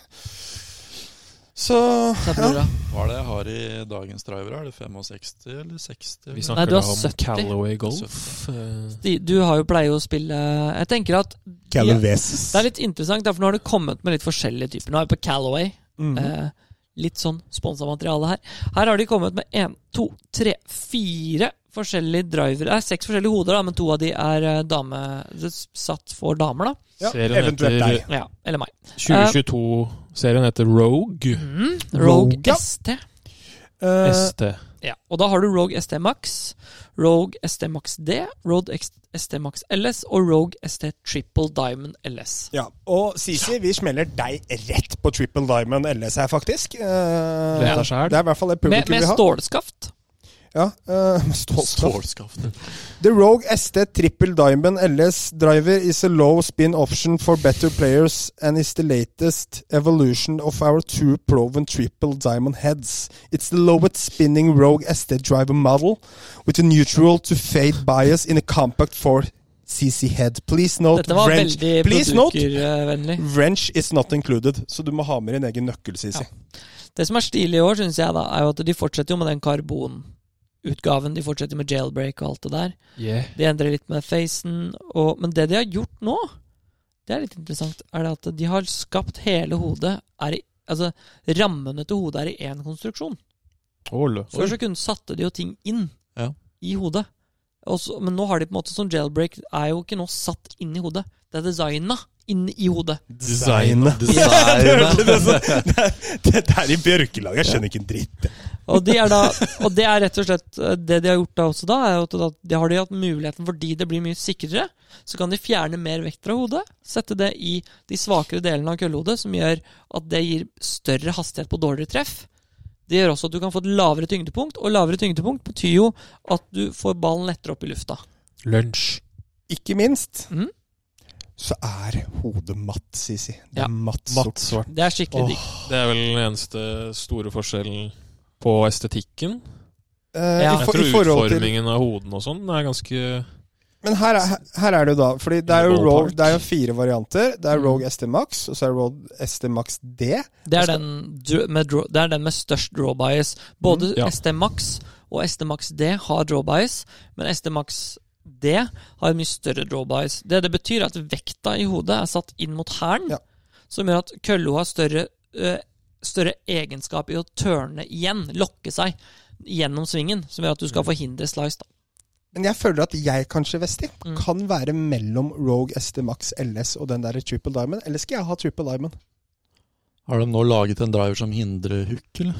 S2: Så
S1: Sa brora.
S3: Hva er det jeg har i dagens driver? Er det 65 eller 60?
S4: Vi
S1: Nei,
S4: snakker
S1: du
S4: da
S1: har
S4: om
S1: 70.
S4: Callaway Golf. Eh,
S1: De- Du har jo pleier å spille Jeg tenker at ja,
S2: Calaveses.
S1: Det er litt interessant, da, for nå har det kommet med litt forskjellige typer. Nå er vi på Callaway. Eh, litt sånn sponsa materiale her. Her har de kommet med én, to, tre, fire forskjellige drivere. Det er seks forskjellige hoder, da, men to av de er eh, dame, satt for damer, da.
S2: Ja,
S4: Serien
S2: eventuelt
S4: heter-
S2: deg.
S1: Ja, eller meg.
S4: 2022-serien heter Rogue
S1: Mm, Rogue,
S2: Rogue, ja.
S1: ST.
S2: Eh,
S4: ST.
S1: Ja, og da har du Rogue ST Max, Rogue ST Max D, Rogue X- ST Max LS og Rogue ST Triple Diamond LS.
S2: Ja, og Sisi, vi smeller deg rett på Triple Diamond LS her, faktisk. Eh,
S4: Leder seg her.
S2: det er i hvert fall det
S1: Med,
S2: publikum
S1: med
S2: vi har.
S1: stålskaft.
S2: Ja, eh, stålskaft.
S3: Stålskaftet.
S2: The Rogue ST Triple Diamond LS driver is a low spin option for better players and is the latest evolution of our two proven triple diamond heads. It's the lowest spinning Rogue ST driver model with a neutral to fade bias in a compact 4cc head. Please note
S1: Dette var
S2: wrench.
S1: veldig
S2: Please note
S1: brukervennlig.
S2: wrench is not included, så du må ha med din egen nøkkel, Sisi.
S1: Det som er stilig i år, syns jeg, da, er jo at de fortsetter jo med den karbonutgaven. De fortsetter med jailbreak og alt det der.
S4: Yeah.
S1: De endrer litt med facen. Og, men det de har gjort nå, det er litt interessant, er det at de har skapt hele hodet er i, Altså, rammene til hodet er i én konstruksjon. Før så kunne satte de jo ting inn
S3: Ja.
S1: i hodet. Og så- men nå har de på en måte sånn jailbreak er jo ikke nå satt inn i hodet. Det er designa inn i hodet.
S2: Design.
S3: Designet.
S2: Det der i bjørkelaget, jeg skjønner ikke en dritt.
S1: Og, de er da, og det er rett og slett eh, det de har gjort da også da, er jo at da- det har de hatt muligheten fordi det blir mye sikrere. Så kan de fjerne mer vekt fra hodet, sette det i de svakere delene av køllehodet, som gjør at det gir større hastighet på dårligere treff. Det gjør også at du kan få et lavere tyngdepunkt, og lavere tyngdepunkt betyr jo at du får ballen lettere opp i lufta.
S4: Lunsj.
S2: Ikke minst
S1: Mhm.
S2: så er hodet matt, Sisi. Det er
S1: Ja.
S2: matt
S4: Matt
S2: sort.
S4: Svart.
S1: Det er skikkelig
S2: Åh.
S1: digg.
S4: Det er vel den eneste store forskjellen på estetikken.
S2: Eh,
S1: Ja.
S2: i,
S4: Jeg
S2: for, I
S4: tror
S2: forhold til
S4: utformingen av hodene og sånn er ganske
S2: Men her er, her er det jo da Fordi det er jo,
S4: Ballpark.
S2: Rogue, det er jo fire varianter. Det er
S1: Mm.
S2: Rogue ST Max, og så er det Rogue ST Max D.
S1: Det er, den, dr- med draw, det er den med størst draw bias. Både
S4: ja.
S1: ST Max og ST Max D har draw bias, men ST Max D har en mye større draw bias. Det det betyr, er at vekta i hodet er satt inn mot hælen,
S2: Ja.
S1: som gjør at kølla har større, eh, større egenskap i å tørne igjen, lokke seg gjennom svingen, som gjør at du skal forhindre slice. Da.
S2: Men jeg føler at jeg kanskje, Vesti,
S1: Mm.
S2: kan være mellom Rogue ST Max LS og den der Triple Diamond. Eller skal jeg ha Triple Diamond?
S3: Har de nå laget en driver som hindrer hook, eller?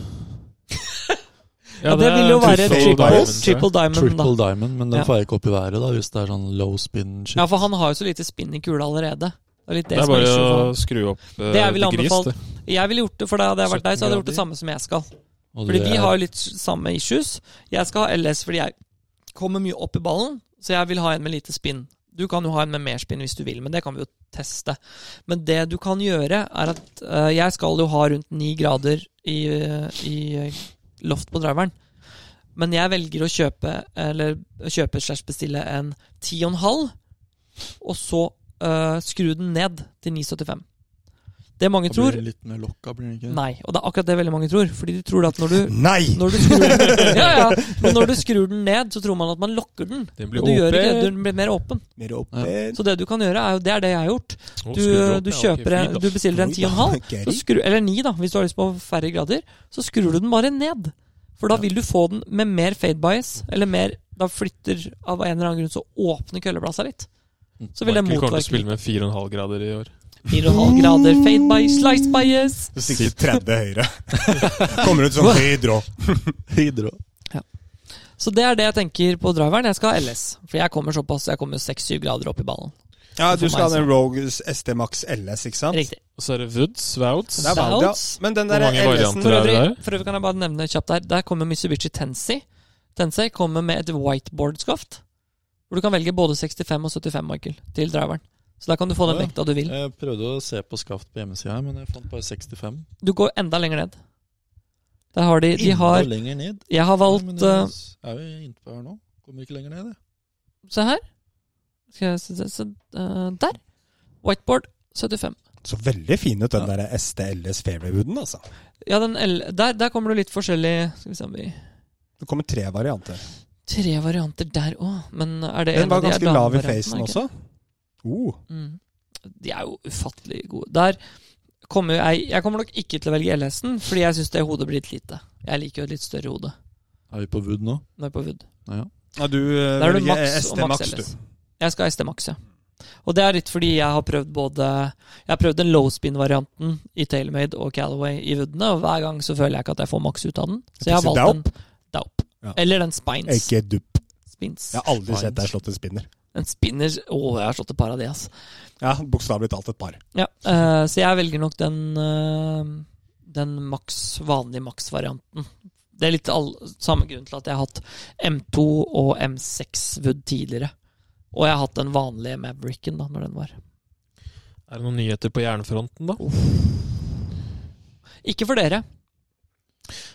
S1: Ja, det, vil jo være
S2: triple diamond,
S1: triple, diamond,
S2: tror
S1: triple diamond,
S3: Triple
S1: da.
S3: diamond, men den
S1: Ja.
S3: får jeg ikke opp i været da, hvis det er sånn low spin shit.
S1: Ja, for han har jo så lite spinn i kula allerede. Det er litt
S4: Det
S1: det,
S4: er
S1: som er
S4: bare
S1: issue
S4: å
S1: for han.
S4: skru opp eh,
S1: Det jeg ville
S4: gris,
S1: anbefalt.
S4: det.
S1: Jeg ville gjort det, for da hadde jeg vært deg, så hadde jeg gjort
S4: 17
S1: det samme som jeg skal.
S3: Og
S1: Fordi
S3: det
S1: vi
S3: er-
S1: har jo litt samme issues. Jeg skal ha LS fordi jeg kommer mye opp i ballen, så jeg vil ha en med lite spinn. Du kan jo ha en med mer spinn hvis du vil, men det kan vi jo teste. Men det du kan gjøre, er at eh, jeg skal jo ha rundt ni grader i, eh, i eh, loft på driveren. Men jeg velger å kjøpe eller kjøpe slash bestille en 10,5, og så eh, skru den ned til 9,75. Det mange
S3: Da blir
S1: tror,
S3: det Litt mer lokka, blir det ikke?
S1: Nei, og det er akkurat det veldig mange tror. Fordi de tror at når du,
S2: Nei!
S1: når du, skrur, ja, ja, men når du skrur den ned, så tror man at man lokker den. Men
S4: Den blir
S1: du gjør ikke det,
S4: åpen.
S1: den blir mer åpen.
S2: Mer åpen.
S1: Så det du kan gjøre, er jo, det er det jeg har gjort.
S4: Å,
S1: Du,
S4: skrur opp,
S1: du
S4: ja, ok,
S1: kjøper
S4: fint,
S1: en,
S4: da.
S1: du bestiller en 10,5, så
S2: Gary.
S1: skru- eller 9 da, hvis du har lyst på færre grader, så skrur du den bare ned. For da vil du få den med mer fade bias, eller mer Da flytter av en eller annen grunn så åpner kølleplassen litt. Så vil det
S4: Mm. Michael kommer til å
S1: motvirke
S4: spille med 4,5 grader i år.
S1: 4,5 grader fade bias, slice bias.
S2: Du sikter 30 høyre. Kommer ut som hydro.
S3: Hydro.
S1: Så det er det jeg tenker på driveren. Jeg skal ha LS. For jeg kommer såpass. Jeg kommer 6-7 grader opp i ballen.
S2: Ja,
S1: For
S2: du skal
S1: meg
S2: ha den Rogue ST Max LS, ikke sant?
S1: Riktig.
S4: Og så er det Woods, Wouts.
S2: Det er valgt, ja.
S1: Sounds.
S2: Men den
S4: Hvor
S2: der
S4: mange
S2: LS-en
S4: varianter
S1: For
S4: er det
S1: øvrig,
S4: der?
S1: for øvrig kan jeg bare nevne kjapt der. Der kommer Mitsubishi Tensei. Tensei kommer med et whiteboard-skaft. Hvor du kan velge både 65 og 75, Michael, til driveren. Så da kan du få den
S3: Ja.
S1: vekta du vil.
S3: Jeg prøvde å se på skaft på hjemmesida, her, men jeg fant bare 65.
S1: Du går enda lenger ned. Der har de De har
S3: Enda lenger ned.
S1: Jeg har
S3: Nei, men
S1: valgt
S3: jeg
S1: eh,
S3: er jo innpå her nå. Kommer ikke lenger ned, jeg.
S1: Se her. Skal jeg se, se, se eh, Der. Whiteboard 75.
S2: Så veldig fin ut, den der STLS Fairway-wooden, altså.
S1: Ja, den L der, der kommer du litt forskjellig Skal vi se om vi
S2: Det kommer tre varianter.
S1: Tre varianter der òg, men er det
S2: Den
S1: en
S2: var
S1: av de er
S2: ganske lav i
S1: damevariantene,
S2: facen
S1: ikke?
S2: også. Oh.
S1: Mm. De er jo ufattelig gode. Der kommer jo jeg Jeg kommer nok ikke til å velge LS-en, fordi jeg syns det hodet blir litt lite. Jeg liker jo et litt større hode
S3: Er vi på Wood nå?
S1: når jeg er på Wood.
S2: Ja, du
S1: Der er du
S2: velger
S1: maks og
S2: ST
S1: maks
S2: Max, du.
S1: LS. Jeg skal ha ST Max, ja. Og det er litt fordi jeg har prøvd både Jeg har prøvd den low spin-varianten i Tailmade og Calaway i Woodene, og hver gang så føler jeg ikke at jeg får maks ut av den. Så jeg har
S2: Ikke
S1: valgt en Daup.
S2: Ja.
S1: Eller den Spines.
S2: Ikke dupp.
S1: Spins.
S2: Jeg har aldri
S3: Fine.
S2: sett deg slått en spinner.
S1: En spinner Å, jeg har slått et par av de, altså. ass.
S2: Ja, Bokstavelig talt et par.
S1: Ja, eh, så jeg velger nok den eh, Den maks, vanlige maks-varianten. Det er litt all, samme grunn til at jeg har hatt M2 og M6 Wood tidligere. Og jeg har hatt den vanlige Mavericken da, når den var.
S4: Er det noen nyheter på jernfronten, da?
S1: Ikke for dere.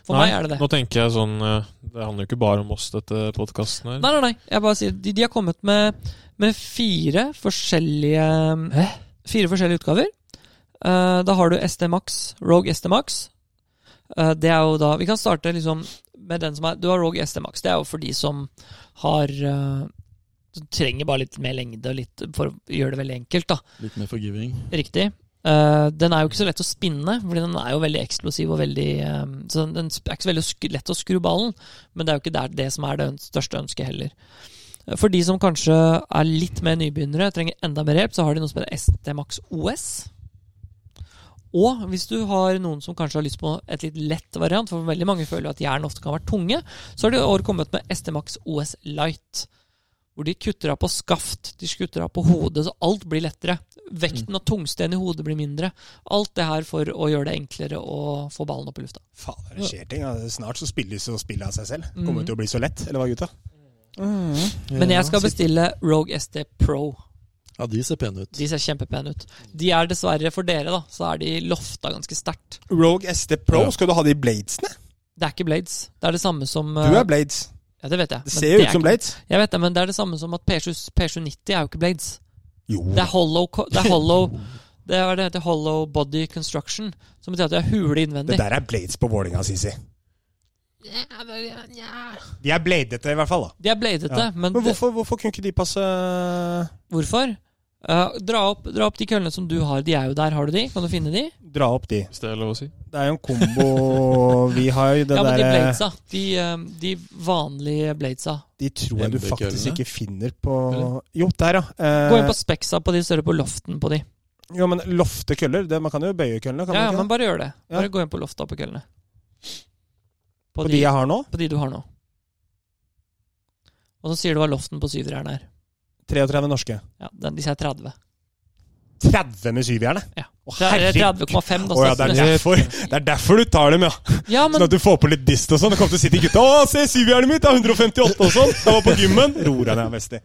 S1: For
S4: Nei,
S1: meg er det det.
S4: Nå tenker jeg sånn eh, Det handler jo ikke bare om oss, dette podkasten her.
S1: Nei, nei, nei. Jeg bare sier, de, de har kommet med, med fire forskjellige Fire forskjellige utgaver. Eh, da har du SD Max, Rogue SD Max. Eh, det er jo da Vi kan starte liksom med den som er Du har Rogue SD Max. Det er jo for de som har eh, som trenger bare litt mer lengde og litt, for å gjøre det veldig enkelt. da
S3: Litt mer forgiving.
S1: Riktig. Eh, den er jo ikke så lett å spinne, Fordi den er jo veldig eksplosiv. Og veldig, eh, så den, den er ikke så veldig å sk- lett å skru ballen, men det er jo ikke der, det som er det øns- største ønsket heller. Eh, For de som kanskje er litt mer nybegynnere, trenger enda mer hjelp, så har de noe som heter ST Max OS. Og hvis du har noen som kanskje har lyst på et litt lett variant, for veldig mange føler at jern ofte kan være tunge, så har de i år kommet med ST Max OS Light. Hvor de kutter av på skaft, de kutter av på hodet, så alt blir lettere.
S2: Mm.
S1: Vekten av tungsten i hodet blir mindre. Alt det her for å gjøre det enklere å få ballen opp i lufta.
S2: Faen, det skjer ting. da. Snart så spilles jo spillet av seg selv.
S1: Mm.
S2: Kommer det til å bli så lett, eller hva, gutta?
S1: Men jeg skal bestille Rogue ST Pro.
S3: Ja, de ser pene ut.
S1: De ser kjempepene ut. De er dessverre for dere, da, så er de lofta ganske sterkt.
S2: Rogue ST Pro,
S3: Ja.
S2: skal du ha de bladesene?
S1: Det er ikke Blades. Det er det samme som eh,
S2: Du er blades.
S1: Ja, det vet jeg.
S2: Det
S1: men
S2: ser jo
S1: er
S2: ut som
S1: ikke-
S2: blades.
S1: Jeg vet det, men det er det samme som at P7- P790 er jo ikke Blades.
S2: Jo.
S1: Det er hollow co- Det er hollow Det er hva det heter hollow body construction, som betyr at det er hule innvendig.
S2: Det der er blades på Vålinga, Sisi. De er bladete, i hvert fall. da.
S1: De er bladete,
S2: Ja.
S1: men,
S2: Men hvorfor, hvorfor kunne ikke de passe
S1: hvorfor? Eh, dra, opp, dra opp de køllene som du har. De er jo der. Har du de? Kan du finne de?
S2: Dra opp de?
S4: Hvis det er lov å si.
S2: Det er jo en kombo Vi har jo det
S1: ja, men de
S2: derre
S1: bladesa. De, eh, de vanlige bladesa.
S2: De tror jeg du faktisk
S3: Hjemmekøllene?
S2: ikke finner på
S3: Eller?
S2: Jo, der, ja. Eh,
S1: Gå inn på Spexa på de større, på loften på de.
S2: Jo, men lofte køller. Det, man kan jo bøye køllene, kan
S1: Ja, ja,
S2: man
S1: men
S2: ikke?
S1: bare gjør det.
S2: Ja.
S1: Bare gå inn på lofta på køllene. På,
S2: På de
S1: de,
S2: jeg har nå?
S1: på de du har nå. Og så sier du hva loften på syverjern er.
S2: 33 norske.
S1: Ja, den, de sier 30.
S2: 30 med syvjernet?
S1: Ja.
S2: Å,
S1: Det er
S2: herregud.
S1: 30,5. da,
S2: Å ja, det er,
S1: så-
S2: derfor, det er derfor du tar dem, ja.
S1: ja, men
S2: Sånn at du får på litt dist og sånn. Og kommer til å si til gutta 'Å, se syvjernet mitt! Det er 158 og sånn!' Det var på gymmen. Ror deg ned, Vesti.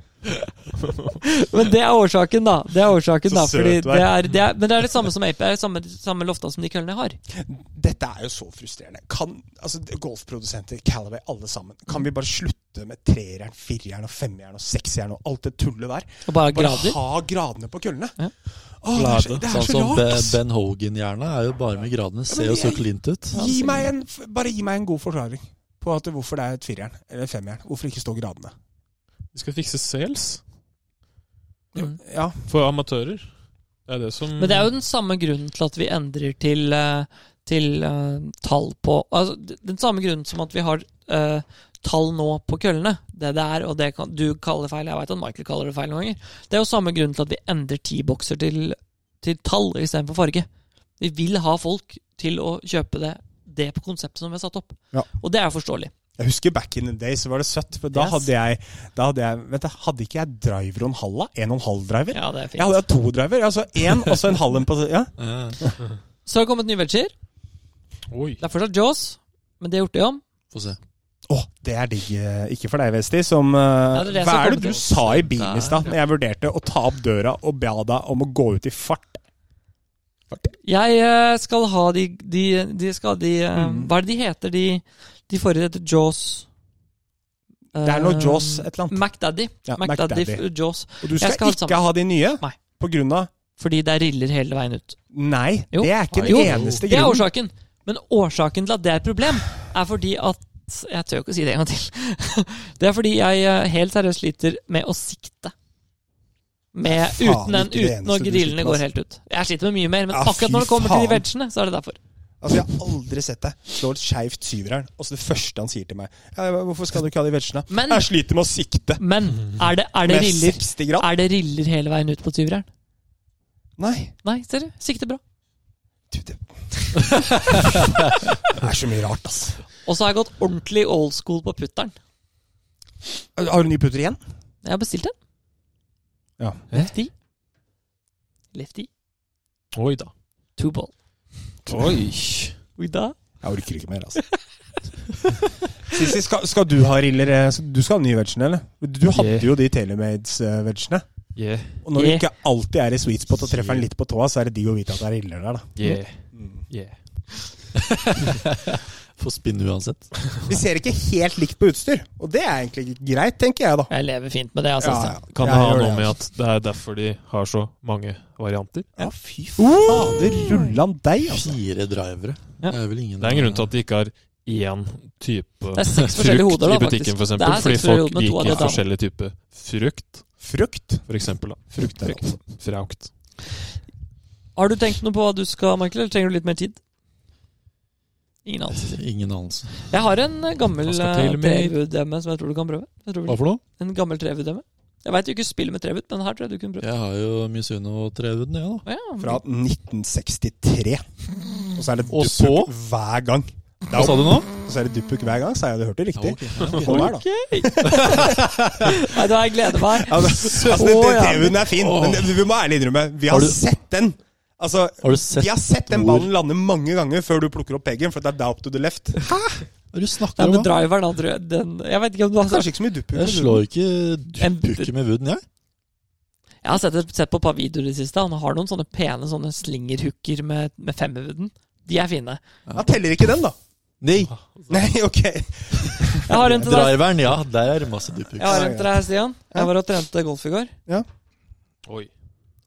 S1: Men det er årsaken, da. Det er årsaken
S2: Så
S1: da
S2: søt
S1: fordi
S2: du er.
S1: det er, det er, Men det er det samme som Ape. Det er det samme, samme lofta som de køllene jeg har.
S2: Dette er jo så frustrerende. Kan, altså, Golfprodusenter, Calaway, alle sammen. Kan vi bare slutte med treeren, fireren og femjern og seksjern og alt det tullet der?
S1: Og
S2: Bare
S1: bare grader.
S2: ha gradene på køllene.
S1: Ja.
S2: Åh, det er så, det er
S3: sånn
S2: så
S3: som
S2: rart,
S3: Ben,
S2: ass.
S3: ben Hogan-hjerna er jo bare med gradene. Ser jo så
S2: jeg-
S3: klint ut.
S2: Gi meg en, bare gi meg en god forklaring på at hvorfor det er et firjern eller femjern. Hvorfor ikke stå gradene?
S4: Vi skal fikse sales
S1: Mm.
S2: Ja,
S4: for amatører. Det er det som
S1: Men det er jo den samme grunnen til at vi endrer til, eh, til eh, tall på altså, d- Den samme grunnen som at vi har eh, tall nå på køllene. Det det er, og det kan, du kaller det feil, jeg veit at Michael kaller det feil noen ganger. Det er jo samme grunnen til at vi endrer T-bokser til, til tall istedenfor farge. Vi vil ha folk til å kjøpe det, det på konseptet som vi har satt opp.
S2: Ja.
S1: Og det er forståelig.
S2: Jeg husker back in the day, så var det søtt. For da
S1: Yes.
S2: hadde jeg, da hadde jeg Vet du, hadde ikke jeg driver og en halla? En og en halv driver?
S1: Ja, det er fint.
S2: Jeg hadde to driver, altså én og så en halv en på ja.
S3: Eh,
S1: Så har det kommet nye wedger.
S4: Oi.
S1: Det er fortsatt Jaws, men det er gjort det om.
S3: Få se.
S2: Å, det er digg. eh, Ikke for deg, Vesti, som eh,
S1: det er
S2: Hva
S1: det som
S2: er
S1: kommer
S2: det du
S1: til.
S2: sa i bilen i stad, når jeg vurderte å ta opp døra og ba deg om å gå ut i fart?
S1: Jeg eh, skal ha de, de, de, skal ha de eh,
S2: Mm.
S1: Hva er det de heter, de, de forrige heter Jaws
S2: Det er noe
S1: Eh,
S2: Jaws et eller annet.
S1: MacDaddy.
S2: Ja,
S1: MacDaddy
S2: MacDaddy.
S1: f- Jaws.
S2: Og du
S1: jeg
S2: skal,
S1: skal ha det
S2: ikke ha de nye?
S1: Nei.
S2: På grunn av
S1: Fordi det er riller hele veien ut.
S2: Nei,
S1: Jo.
S2: det er ikke den
S1: Jo,
S2: eneste
S1: Det er
S2: grunnen.
S1: årsaken. Men årsaken til at det er et problem, er fordi at Jeg tør ikke å si det en gang til. Det er fordi jeg eh, helt seriøst sliter med å sikte. Med,
S2: Faen,
S1: uten den,
S2: ikke det
S1: uten når
S2: eneste du
S1: grillene
S2: sliter med,
S1: går
S2: ass.
S1: helt ut. Jeg sliter med mye mer, men
S2: Ja,
S1: akkurat
S2: fy
S1: når det kommer til de
S2: faen.
S1: vegene, så er det derfor.
S2: Altså, Jeg har aldri sett deg slå et skeivt syverjern, og så det første han sier til meg «Ja, 'Hvorfor skal du ikke ha de vetsjene?'
S1: Men-
S2: 'Jeg sliter med å sikte
S1: Men er det, er det
S2: med
S1: riller
S2: 60 grad'.
S1: Er det riller hele veien ut på tyverjern?
S2: Nei.
S1: Nei, ser du. Sikter bra.
S2: Du, det Det er så mye rart, ass.
S1: Og så har jeg gått ordentlig old school på putteren.
S2: Har du nye putter igjen?
S1: Jeg har bestilt en.
S2: Ja.
S1: Lefty. Lefty.
S4: Oi da.
S1: Two ball.
S4: Oi.
S1: Oi da.
S2: Jeg orker ikke mer, altså. Sissy, skal, skal du ha riller? eh, så Du skal ha ny vegen, eller? Du hadde
S4: Yeah.
S2: jo de Telemades-vegene.
S4: Yeah,
S2: Og når du
S1: Yeah.
S2: ikke alltid er i sweet spot og treffer den litt på tåa, så er det digg å vite at det er riller der, da.
S4: yeah,
S2: Mm.
S4: yeah.
S3: Får spinne uansett.
S2: Vi ser ikke helt likt på utstyr, og det er egentlig greit, tenker jeg, da.
S1: Jeg lever fint med det. Altså.
S2: Ja, ja.
S4: Kan
S2: Jeg
S4: det ha
S2: gjør
S4: noe med
S2: altså.
S4: at det er derfor de har så mange varianter?
S2: Ja, fy fader, rullan deg, altså.
S3: Fire drivere.
S1: Ja.
S3: Det er vel ingen
S4: Det er en grunn til at de ikke har én type
S1: Det er seks
S4: frukt
S1: forskjellige hoder, da,
S4: i butikken,
S1: faktisk.
S4: for
S1: Det
S4: eksempel,
S1: er
S4: fordi
S1: seks forskjellige
S4: folk
S1: hoder, men to av
S4: liker
S1: de er
S4: forskjellig type frukt,
S2: Frukt.
S4: for eksempel. Da.
S2: Frukt er altså.
S4: Fraukt.
S1: Har du tenkt noe på hva du skal, Michael, eller trenger du litt mer tid? Ingen anelse.
S3: altså, Ingen anelse.
S1: Jeg har en eh, gammel
S4: Hva skal
S1: eh,
S4: til med-
S1: trevudemme som jeg tror du kan prøve. Jeg tror
S3: Hva for noe?
S1: En gammel trevudemme. Jeg veit du ikke spiller med trevud, men her tror jeg du kunne prøve.
S3: Jeg har jo Misuno 300, jeg, da.
S1: Å Ja.
S2: Fra 1963. Og så er det
S3: Og så?
S2: duppuk hver gang. Det er
S3: Hva sa du nå?
S2: opp- Og så er det duppuk hver gang, så jeg hadde hørt det riktig. Sånn er det, da.
S1: Ok! Nei, da jeg gleder meg.
S2: Altså, altså, det,
S1: Å,
S2: det,
S1: ja.
S2: TV-en er fin, men det, vi må ærlig innrømme, vi har,
S3: Har du-
S2: sett den. Altså,
S3: Har du sett
S2: vi har sett den
S3: hvor-
S2: ballen lande mange ganger før du plukker opp peggen, for det er down to the left.
S3: Hva er det du
S1: Nei,
S3: snakker
S1: men
S3: om? da?
S1: driveren, han tror jeg den, Jeg vet ikke om du har
S2: Kanskje ikke så mye duppuk.
S3: Jeg slår ikke
S1: En-
S3: dukke med wooden, jeg.
S1: Jeg har sett, et- sett på et par videoer i det siste. Han har noen sånne pene sånne slingerhooker med, med femmervuden. De er fine.
S2: Ja, teller ikke den, da.
S3: Nei.
S2: Nei, ok.
S1: Jeg har en til deg,
S3: Driveren, ja. Der er det masse duppuk.
S1: jeg har en til deg Stian. Jeg var og trente golf i går.
S4: Oi.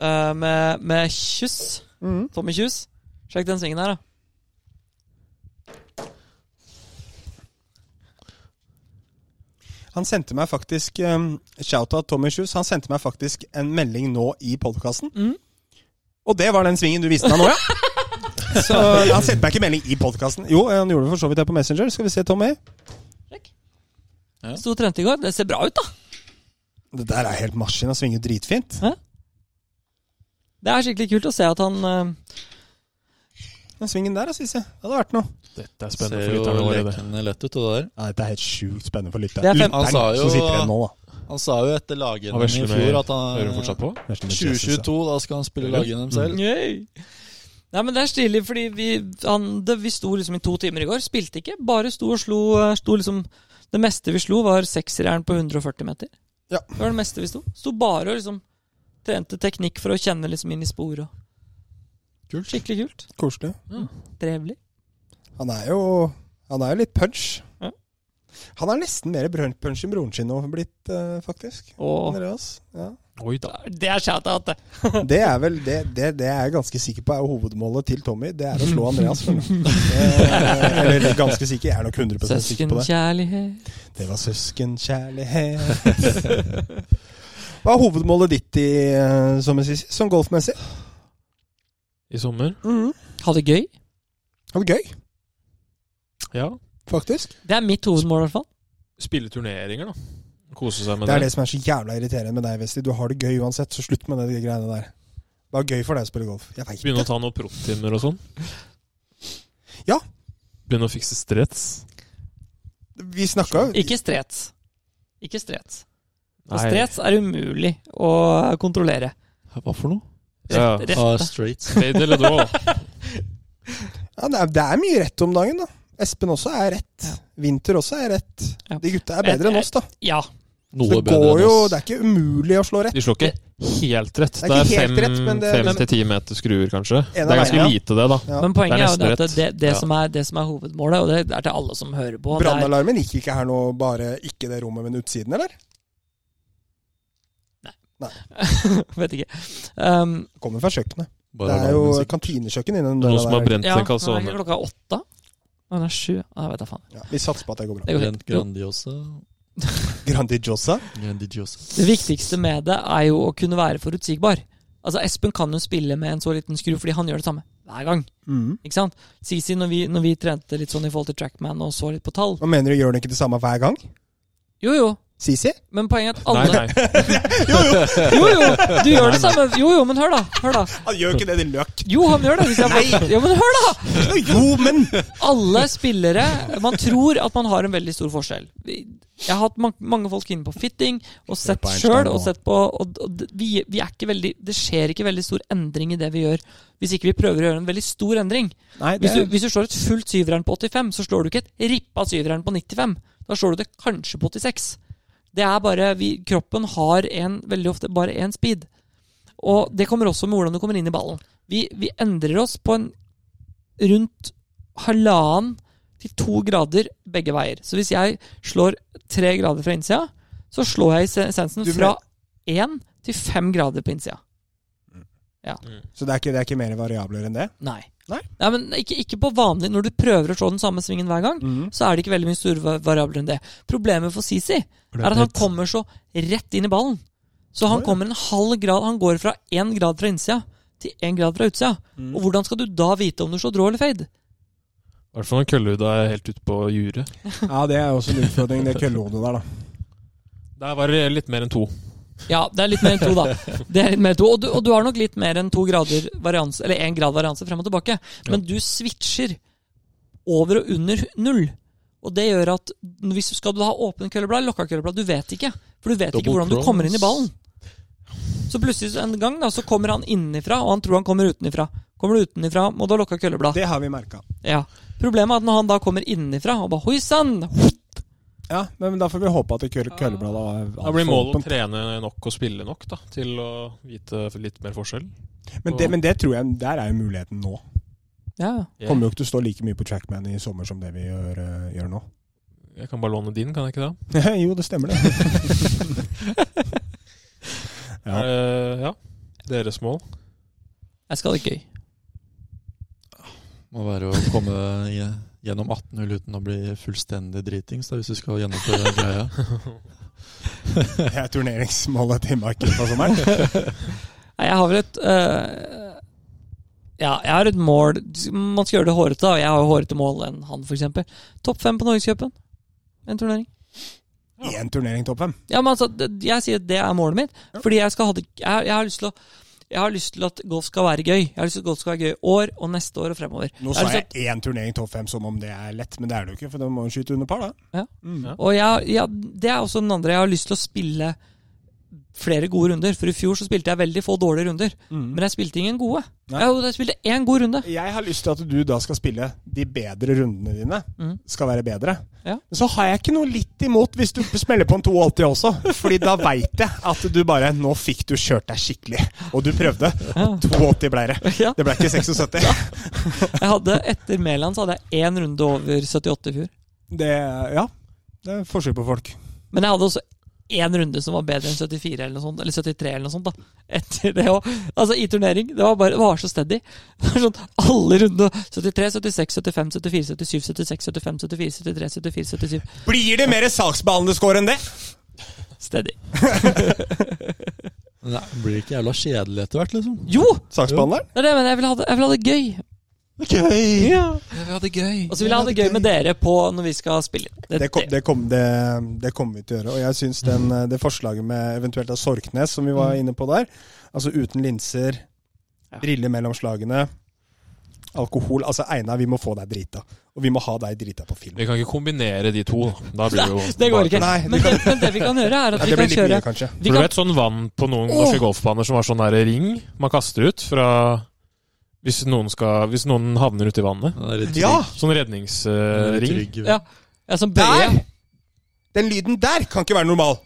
S1: eh, med, med kyss.
S2: Mhm.
S1: Tommy Kjus. Sjekk den svingen her, da.
S2: Han sendte meg faktisk um, Shout-out Tommy Shoes. Han sendte meg faktisk en melding nå i podkasten.
S3: Mm.
S1: Mhm.
S2: Og det var den svingen du viste meg nå, ja. Så Han sendte meg ikke melding i podkasten. Jo, han gjorde det for så vidt det på Messenger. Skal vi se, Tommy.
S3: Ja.
S1: Sto og trente i går. Det ser bra ut, da.
S2: Det der er helt maskin. Han svinger dritfint.
S1: Det er skikkelig kult å se at han eh,
S2: Den svingen der, da, Sisse. Det hadde vært noe.
S4: Dette er
S3: Ser
S4: spennende for
S3: jo
S4: lytterne våre. det.
S3: lekende lett ut, det der.
S2: Ja, dette er helt sjukt spennende for lytteren.
S1: Det er fem-
S2: Lytteren
S3: Han sa jo-
S2: som sitter igjen nå, da.
S3: Han sa jo etter lag-NM
S4: Han
S3: i
S4: vesler
S3: fjor
S4: med-
S3: at han
S4: Hører hun fortsatt på?
S2: Nesten litt Jesus,
S3: 2022, da skal han spille lag-NM selv.
S1: Yay. Nei, men Det er stilig, fordi vi, han, det, vi sto liksom i to timer i går. Spilte ikke, bare sto og slo. eh, Sto liksom, det meste vi slo, var sekseren på 140 meter.
S2: Ja.
S1: Det var det meste vi sto. Sto bare og liksom trente teknikk for å kjenne liksom inn i sporet.
S3: Kult.
S1: Skikkelig kult.
S2: da. Koselig.
S1: Trevelig.
S2: Han er jo Han er jo litt punch.
S1: Ja.
S2: Han er nesten mer brun- punch enn broren sin nå blitt, eh, faktisk.
S1: Og
S2: Andreas. Ja.
S4: Oi da.
S1: det er shout-out, det.
S2: Det er vel det, det, det er jeg ganske sikker på er hovedmålet til Tommy. Det er å slå Andreas. føler jeg. Eh, Eller ganske sikker. Jeg er nok 100 sikker på det.
S1: Søskenkjærlighet.
S2: Det var søskenkjærlighet. Hva er hovedmålet ditt i, eh, som, en sis- som golfmessig?
S4: I sommer?
S1: Ha det gøy.
S2: Det var gøy,
S4: Ja.
S2: faktisk.
S1: Det er mitt hovedmål, i hvert fall.
S4: Spille turneringer, da. Kose seg med
S2: Det er
S4: det.
S2: det som er så jævla irriterende med deg, Vesti. Du har det gøy uansett, så slutt med det de greiene der. Det var gøy for deg å spille golf. Jeg vet
S4: Begynne
S2: det.
S4: å ta noen profftimer og sånn.
S2: Ja.
S4: Begynne å fikse strets.
S2: Vi snakka jo
S1: Ikke strets. Ikke strets. Og
S4: Nei.
S1: strets er umulig å kontrollere.
S3: Mm. Hva for noe?
S4: Ja.
S1: Rett-
S3: Ah,
S1: rette.
S3: straight.
S4: Fade eller draw.
S2: ja, det, er, det er mye rett om dagen, da. Espen også er rett. Winter også er rett.
S1: Ja.
S2: De gutta er bedre enn oss, da.
S1: Ja.
S3: Noe
S2: Det
S3: bedre
S2: går
S3: enn
S2: jo
S3: oss.
S2: Det er ikke umulig å slå rett.
S4: De slår ikke helt rett.
S2: Det er
S4: Det er
S2: ikke helt
S4: fem,
S2: rett, men det-
S4: fem til ti meter skruer, kanskje. Det
S2: En av
S4: er ganske
S2: veiene.
S4: lite, det, da.
S2: Ja.
S1: Men poenget
S4: Det
S1: er,
S4: er
S1: jo det
S4: nesten
S1: at det, det,
S4: Ja.
S1: som er, det som er hovedmålet, og det er til alle som hører på det er,
S2: Brannalarmen gikk ikke her nå, bare ikke det rommet, men utsiden, eller?
S1: Vet ikke. Um,
S2: Det Kommer fra kjøkkenet. Det
S3: Bare
S2: er jo
S3: alarmen, sikkert.
S2: kantinekjøkken innen
S4: Noen
S2: døra
S4: som har
S2: der.
S4: brent
S1: ja,
S4: en
S1: men er
S4: calzone.
S1: ikke klokka åtte? Nei, Den er sju. Nei, Jeg vet da faen.
S2: Ja, vi satser på at det går bra.
S1: Det går
S3: Brent
S1: fint.
S3: Grandiosa.
S2: Grandiosa.
S3: Grandiosa.
S1: Det viktigste med det er jo å kunne være forutsigbar. Altså, Espen kan jo spille med en så liten skru fordi han gjør det samme hver gang.
S2: Mm.
S1: ikke sant? Sisi, når vi, når vi trente litt sånn i forhold til Trackman og så litt på tall
S2: Hva mener du, gjør den ikke det samme hver gang?
S1: Jo, jo.
S2: Sisi?
S1: Men poenget er at
S4: Nei,
S1: alle
S4: nei.
S1: Jo, jo, du gjør det samme. Jo, jo, men hør, da. Hør da.
S2: Han gjør ikke det, din løk.
S1: Jo, han gjør det. Hvis jeg jo, men hør, da!
S2: Jo, men
S1: Alle spillere Man tror at man har en veldig stor forskjell. Jeg har hatt man mange folk inne på fitting og sett
S2: på Einstein
S1: sjøl. Og
S2: nå.
S1: sett på og, og d- vi, vi er ikke veldig Det skjer ikke veldig stor endring i det vi gjør, hvis ikke vi prøver å gjøre en veldig stor endring.
S2: Nei,
S1: Hvis du, hvis du slår et fullt syveren på 85, så slår du ikke et rippa syveren på 95. Da slår du det kanskje på 86. Det er bare vi, Kroppen har en, veldig ofte bare én speed. Og det kommer også med hvordan du kommer inn i ballen. Vi, vi endrer oss på en rundt halvannen til to grader begge veier. Så hvis jeg slår tre grader fra innsida, så slår jeg i se- essensen
S2: Du
S1: fra én til fem grader på innsida.
S2: Så det er, ikke, det er ikke mer variabler enn det?
S1: Nei.
S2: Nei.
S1: men ikke, ikke på vanlig Når du prøver å slå den samme svingen hver gang,
S4: Mhm.
S1: så er det ikke veldig mye store va- variabler enn det. Problemet for Sisi er at han kommer så rett inn i ballen. Så han
S2: Oi.
S1: kommer en halv grad Han går fra én grad fra innsida til én grad fra utsida.
S2: Mm.
S1: Og hvordan skal du da vite om du slår drå eller fade?
S4: I hvert fall når køllehuden er helt ute på juret.
S2: Ja, det er også en utfordring, det køllehodet der, da.
S4: Der var det litt mer enn to.
S1: Ja, det er litt mer enn to, da. Det er litt mer enn to. Og, du, og du har nok litt mer enn to grader varianse, eller én grad varianse frem og tilbake. Men du switcher over og under null. Og det gjør at hvis du skal du ha åpen kølleblad eller lukka kølleblad, du vet ikke. For du vet ikke
S3: Double
S1: hvordan du kommer inn i
S3: crowns.
S1: ballen. Så plutselig så en gang da, så kommer han innenfra, og han tror han kommer utenfra. Kommer du utenfra, må du ha lukka
S4: Ah.
S1: kølleblad.
S2: Det har vi merka.
S1: Ja. Problemet er at når han da kommer innenfra og bare hoi sann,
S2: Ja, men da får vi håpe at det kølle- køllebladet er
S4: Ah. Da blir
S2: altfor
S4: målet å
S2: åpent.
S4: trene nok og spille nok da, til å vite litt mer forskjell.
S2: Men det, men det tror jeg Der er jo muligheten nå.
S1: ja.
S2: Kommer jo ikke til å stå like mye på Trackman i sommer som det vi gjør, eh, gjør nå.
S4: Jeg kan bare låne din, kan jeg ikke det?
S2: jo, det stemmer, det. Ja.
S4: Er det- Eh, ja. Deres mål.
S1: Jeg skal ha det gøy.
S3: Må være å komme i- gjennom 18-hull uten å bli fullstendig dritings da, hvis du skal gjennomføre den greia.
S2: Det er turneringsmålet til Mike i løpet av sommeren.
S1: Nei, jeg har vel et øh, Ja, jeg har et mål Man skal gjøre det hårete, da. Jeg har jo hårete mål enn han, f.eks. Topp fem på Norgescupen. En turnering.
S2: Én turnering topp fem.
S1: Ja, men altså, det- jeg sier at det er målet mitt. Fordi jeg skal ha det jeg, jeg har lyst til å jeg har lyst til at golf skal være gøy. Jeg har lyst til at golf skal være gøy i år og neste år og fremover.
S2: Nå
S1: Jeg har
S2: sa
S1: lyst til
S2: jeg én turnering topp fem som om det er lett, men det er det jo ikke. For da må du skyte under par, da.
S1: Ja.
S2: Mm.
S4: Ja.
S1: Og jeg, ja, det er også den andre. Jeg har lyst til å spille flere gode runder. For i fjor så spilte jeg veldig få dårlige runder. Men jeg spilte ingen gode.
S2: Mm. Nei.
S1: Jeg, jeg spilte én god runde.
S2: Jeg har lyst til at du da skal spille de bedre rundene dine.
S1: Mm.
S2: Skal være bedre.
S1: Ja.
S2: Men så har jeg ikke noe litt imot hvis du smeller på en 82 også. Fordi da veit jeg at du bare Nå fikk du kjørt deg skikkelig. Og du prøvde.
S1: Ja.
S2: 82 ble det.
S1: Ja.
S2: Det ble ikke 76.
S1: Jeg hadde, etter Mæland så hadde jeg én runde over 78 i fjor.
S2: Det Ja. Det er forskjell på folk.
S1: Men jeg hadde også én runde som var bedre enn 74 eller noe sånt, eller 73 eller noe sånt. da. Etter det også. Altså i turnering. Det var bare, det var så steady. Det var sånn alle rundene. 73, 76, 75, 74, 77, 76, 75, 74, 73, 74, 77.
S2: Blir det mer saksbehandlende score enn det?
S1: Steady.
S3: Men det blir ikke jævla kjedelig etter hvert, liksom.
S1: Jo!
S2: Saksbehandleren?
S1: Det er det jeg mener. Jeg vil ha det, jeg vil ha det gøy.
S2: Okay.
S4: Jeg vil ha det gøy.
S3: Altså,
S1: Og så vil jeg ha det gøy med dere på når vi skal spille.
S2: Det, kom, det, kom, det, det kommer vi til å gjøre. Og jeg syns den,
S1: Mm.
S2: eh, det forslaget med eventuelt av Sorknes, som vi var inne på der, altså uten linser,
S1: Ja.
S2: briller mellom slagene, alkohol Altså, Einar, vi må få deg drita. Og vi må ha deg drita på film.
S4: Vi kan ikke kombinere de to. Da Da blir det jo
S1: Det går ikke.
S2: Nei, det
S1: men, det, men det vi kan gjøre, er at
S2: Ja, det
S1: vi kan
S2: blir litt
S1: kjøre
S2: mye, kanskje.
S1: vi
S4: For du
S1: kan,
S4: vet sånn vann på noen norske golfbaner som har sånn der ring man kaster ut fra Hvis noen, skal, hvis noen havner uti vannet.
S3: Det er litt
S2: Ja!
S3: trygg-
S4: Sånn
S3: det er litt
S4: redningsring.
S3: trygg.
S1: Ja. ja, som bøye.
S2: Der! Den lyden der kan ikke være normal!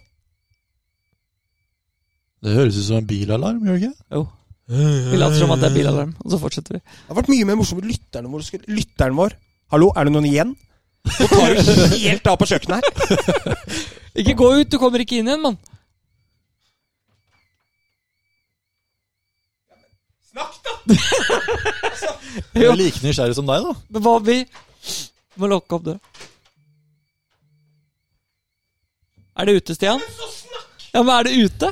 S3: Det høres ut som en bilalarm, gjør det ikke?
S1: Jo. Vi later som at det er bilalarm, og så fortsetter vi.
S2: Det har vært mye mer morsomt med lytterne våre. skulle- Lytteren vår Hallo, er det noen igjen? Nå tar du helt av på kjøkkenet her.
S1: Ikke gå ut, du kommer ikke inn igjen, mann.
S2: Snakk, da!
S3: Jeg
S1: Ja.
S3: er like nysgjerrig som deg, da.
S1: Men hva om vi må lukke opp døra? Er det ute, Stian? Ja, men er det ute?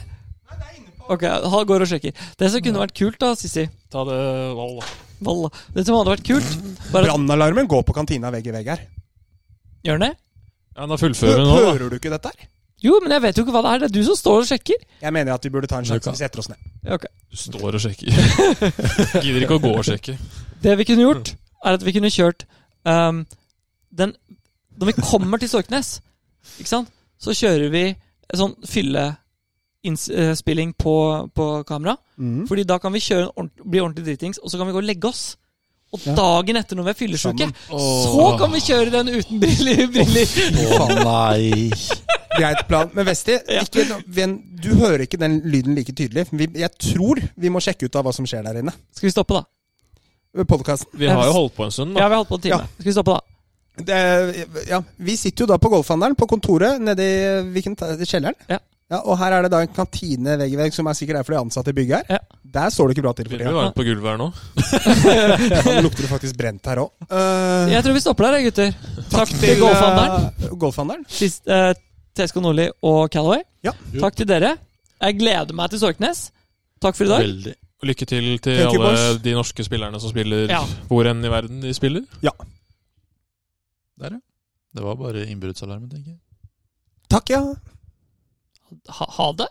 S1: Ok, han går og sjekker. Det som kunne vært kult, da, Sissi
S4: Ta det valg, da.
S1: Valla. Det som hadde vært kult, var at
S2: Brannalarmen går på kantina vegg i vegg her.
S1: Gjør den det?
S4: Ja, da fullfører vi nå, da.
S2: Hører du ikke dette her?
S1: Jo, men jeg vet jo ikke hva det er. Det er du som står og sjekker.
S2: Jeg mener at vi burde ta en
S3: Du
S2: sjanse.
S3: kan.
S2: Vi setter oss ned.
S1: Ja, ok.
S4: Du står og sjekker. Gidder ikke å gå og sjekke.
S1: Det vi kunne gjort, er at vi kunne kjørt ehm, den Når vi kommer til Storknes, ikke sant, så kjører vi en sånn fylleinnspilling på, på kamera.
S2: Mm.
S1: Fordi da kan vi kjøre en ordent- bli ordentlig dritings, og så kan vi gå og legge oss. Og
S2: Ja.
S1: dagen etter når vi er fyllesyke,
S2: Sammen.
S1: så kan vi kjøre den uten briller. briller.
S3: Å nei.
S2: Greit plan. Men Vesti, ikke, no- ven, du hører ikke den lyden like tydelig. Vi, jeg tror vi må sjekke ut av hva som skjer der inne.
S1: Skal vi stoppe, da?
S2: Podkasten.
S4: Vi har jo holdt på en stund,
S1: Ja, vi
S4: da.
S1: har holdt på en time.
S2: Ja.
S1: Skal vi stoppe, da?
S2: Ja, vi sitter jo da på Golfhandelen, på kontoret nede i hvilken ta- kjelleren.
S1: Ja.
S2: og her er det da en kantine vegg i vegg, som er sikkert er for de ansatte i bygget her. Der står det ikke bra til for
S4: Begynner
S2: tida.
S4: jo varmt på gulvet her nå.
S2: Ja, Nå lukter det faktisk brent her Eh, òg.
S1: Jeg tror vi stopper der, gutter. Takk til
S2: eh,
S1: eh, Golfhandelen.
S2: Golfhandelen.
S1: Sist, eh, Tesco Nordli og Calaway.
S2: Ja.
S1: Takk til dere. Jeg gleder meg til Sorknes. Takk for i dag.
S3: Veldig.
S4: Og Lykke til til
S2: Thank you,
S4: alle
S2: boys.
S4: de norske spillerne som spiller
S1: Ja.
S4: hvor enn i verden de spiller.
S3: Der, ja. Det var bare innbruddsalarmen, tenker jeg.
S2: Takk, ja.
S1: Ha, ha det.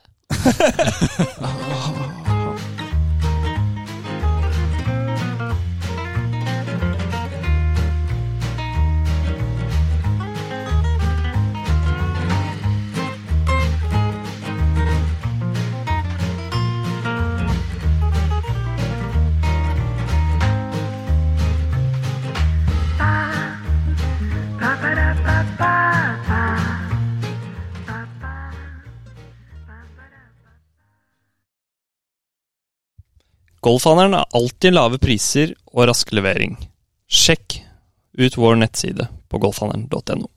S5: Golfhandelen har alltid lave priser og rask levering. Sjekk ut vår nettside på golfhandelen.no.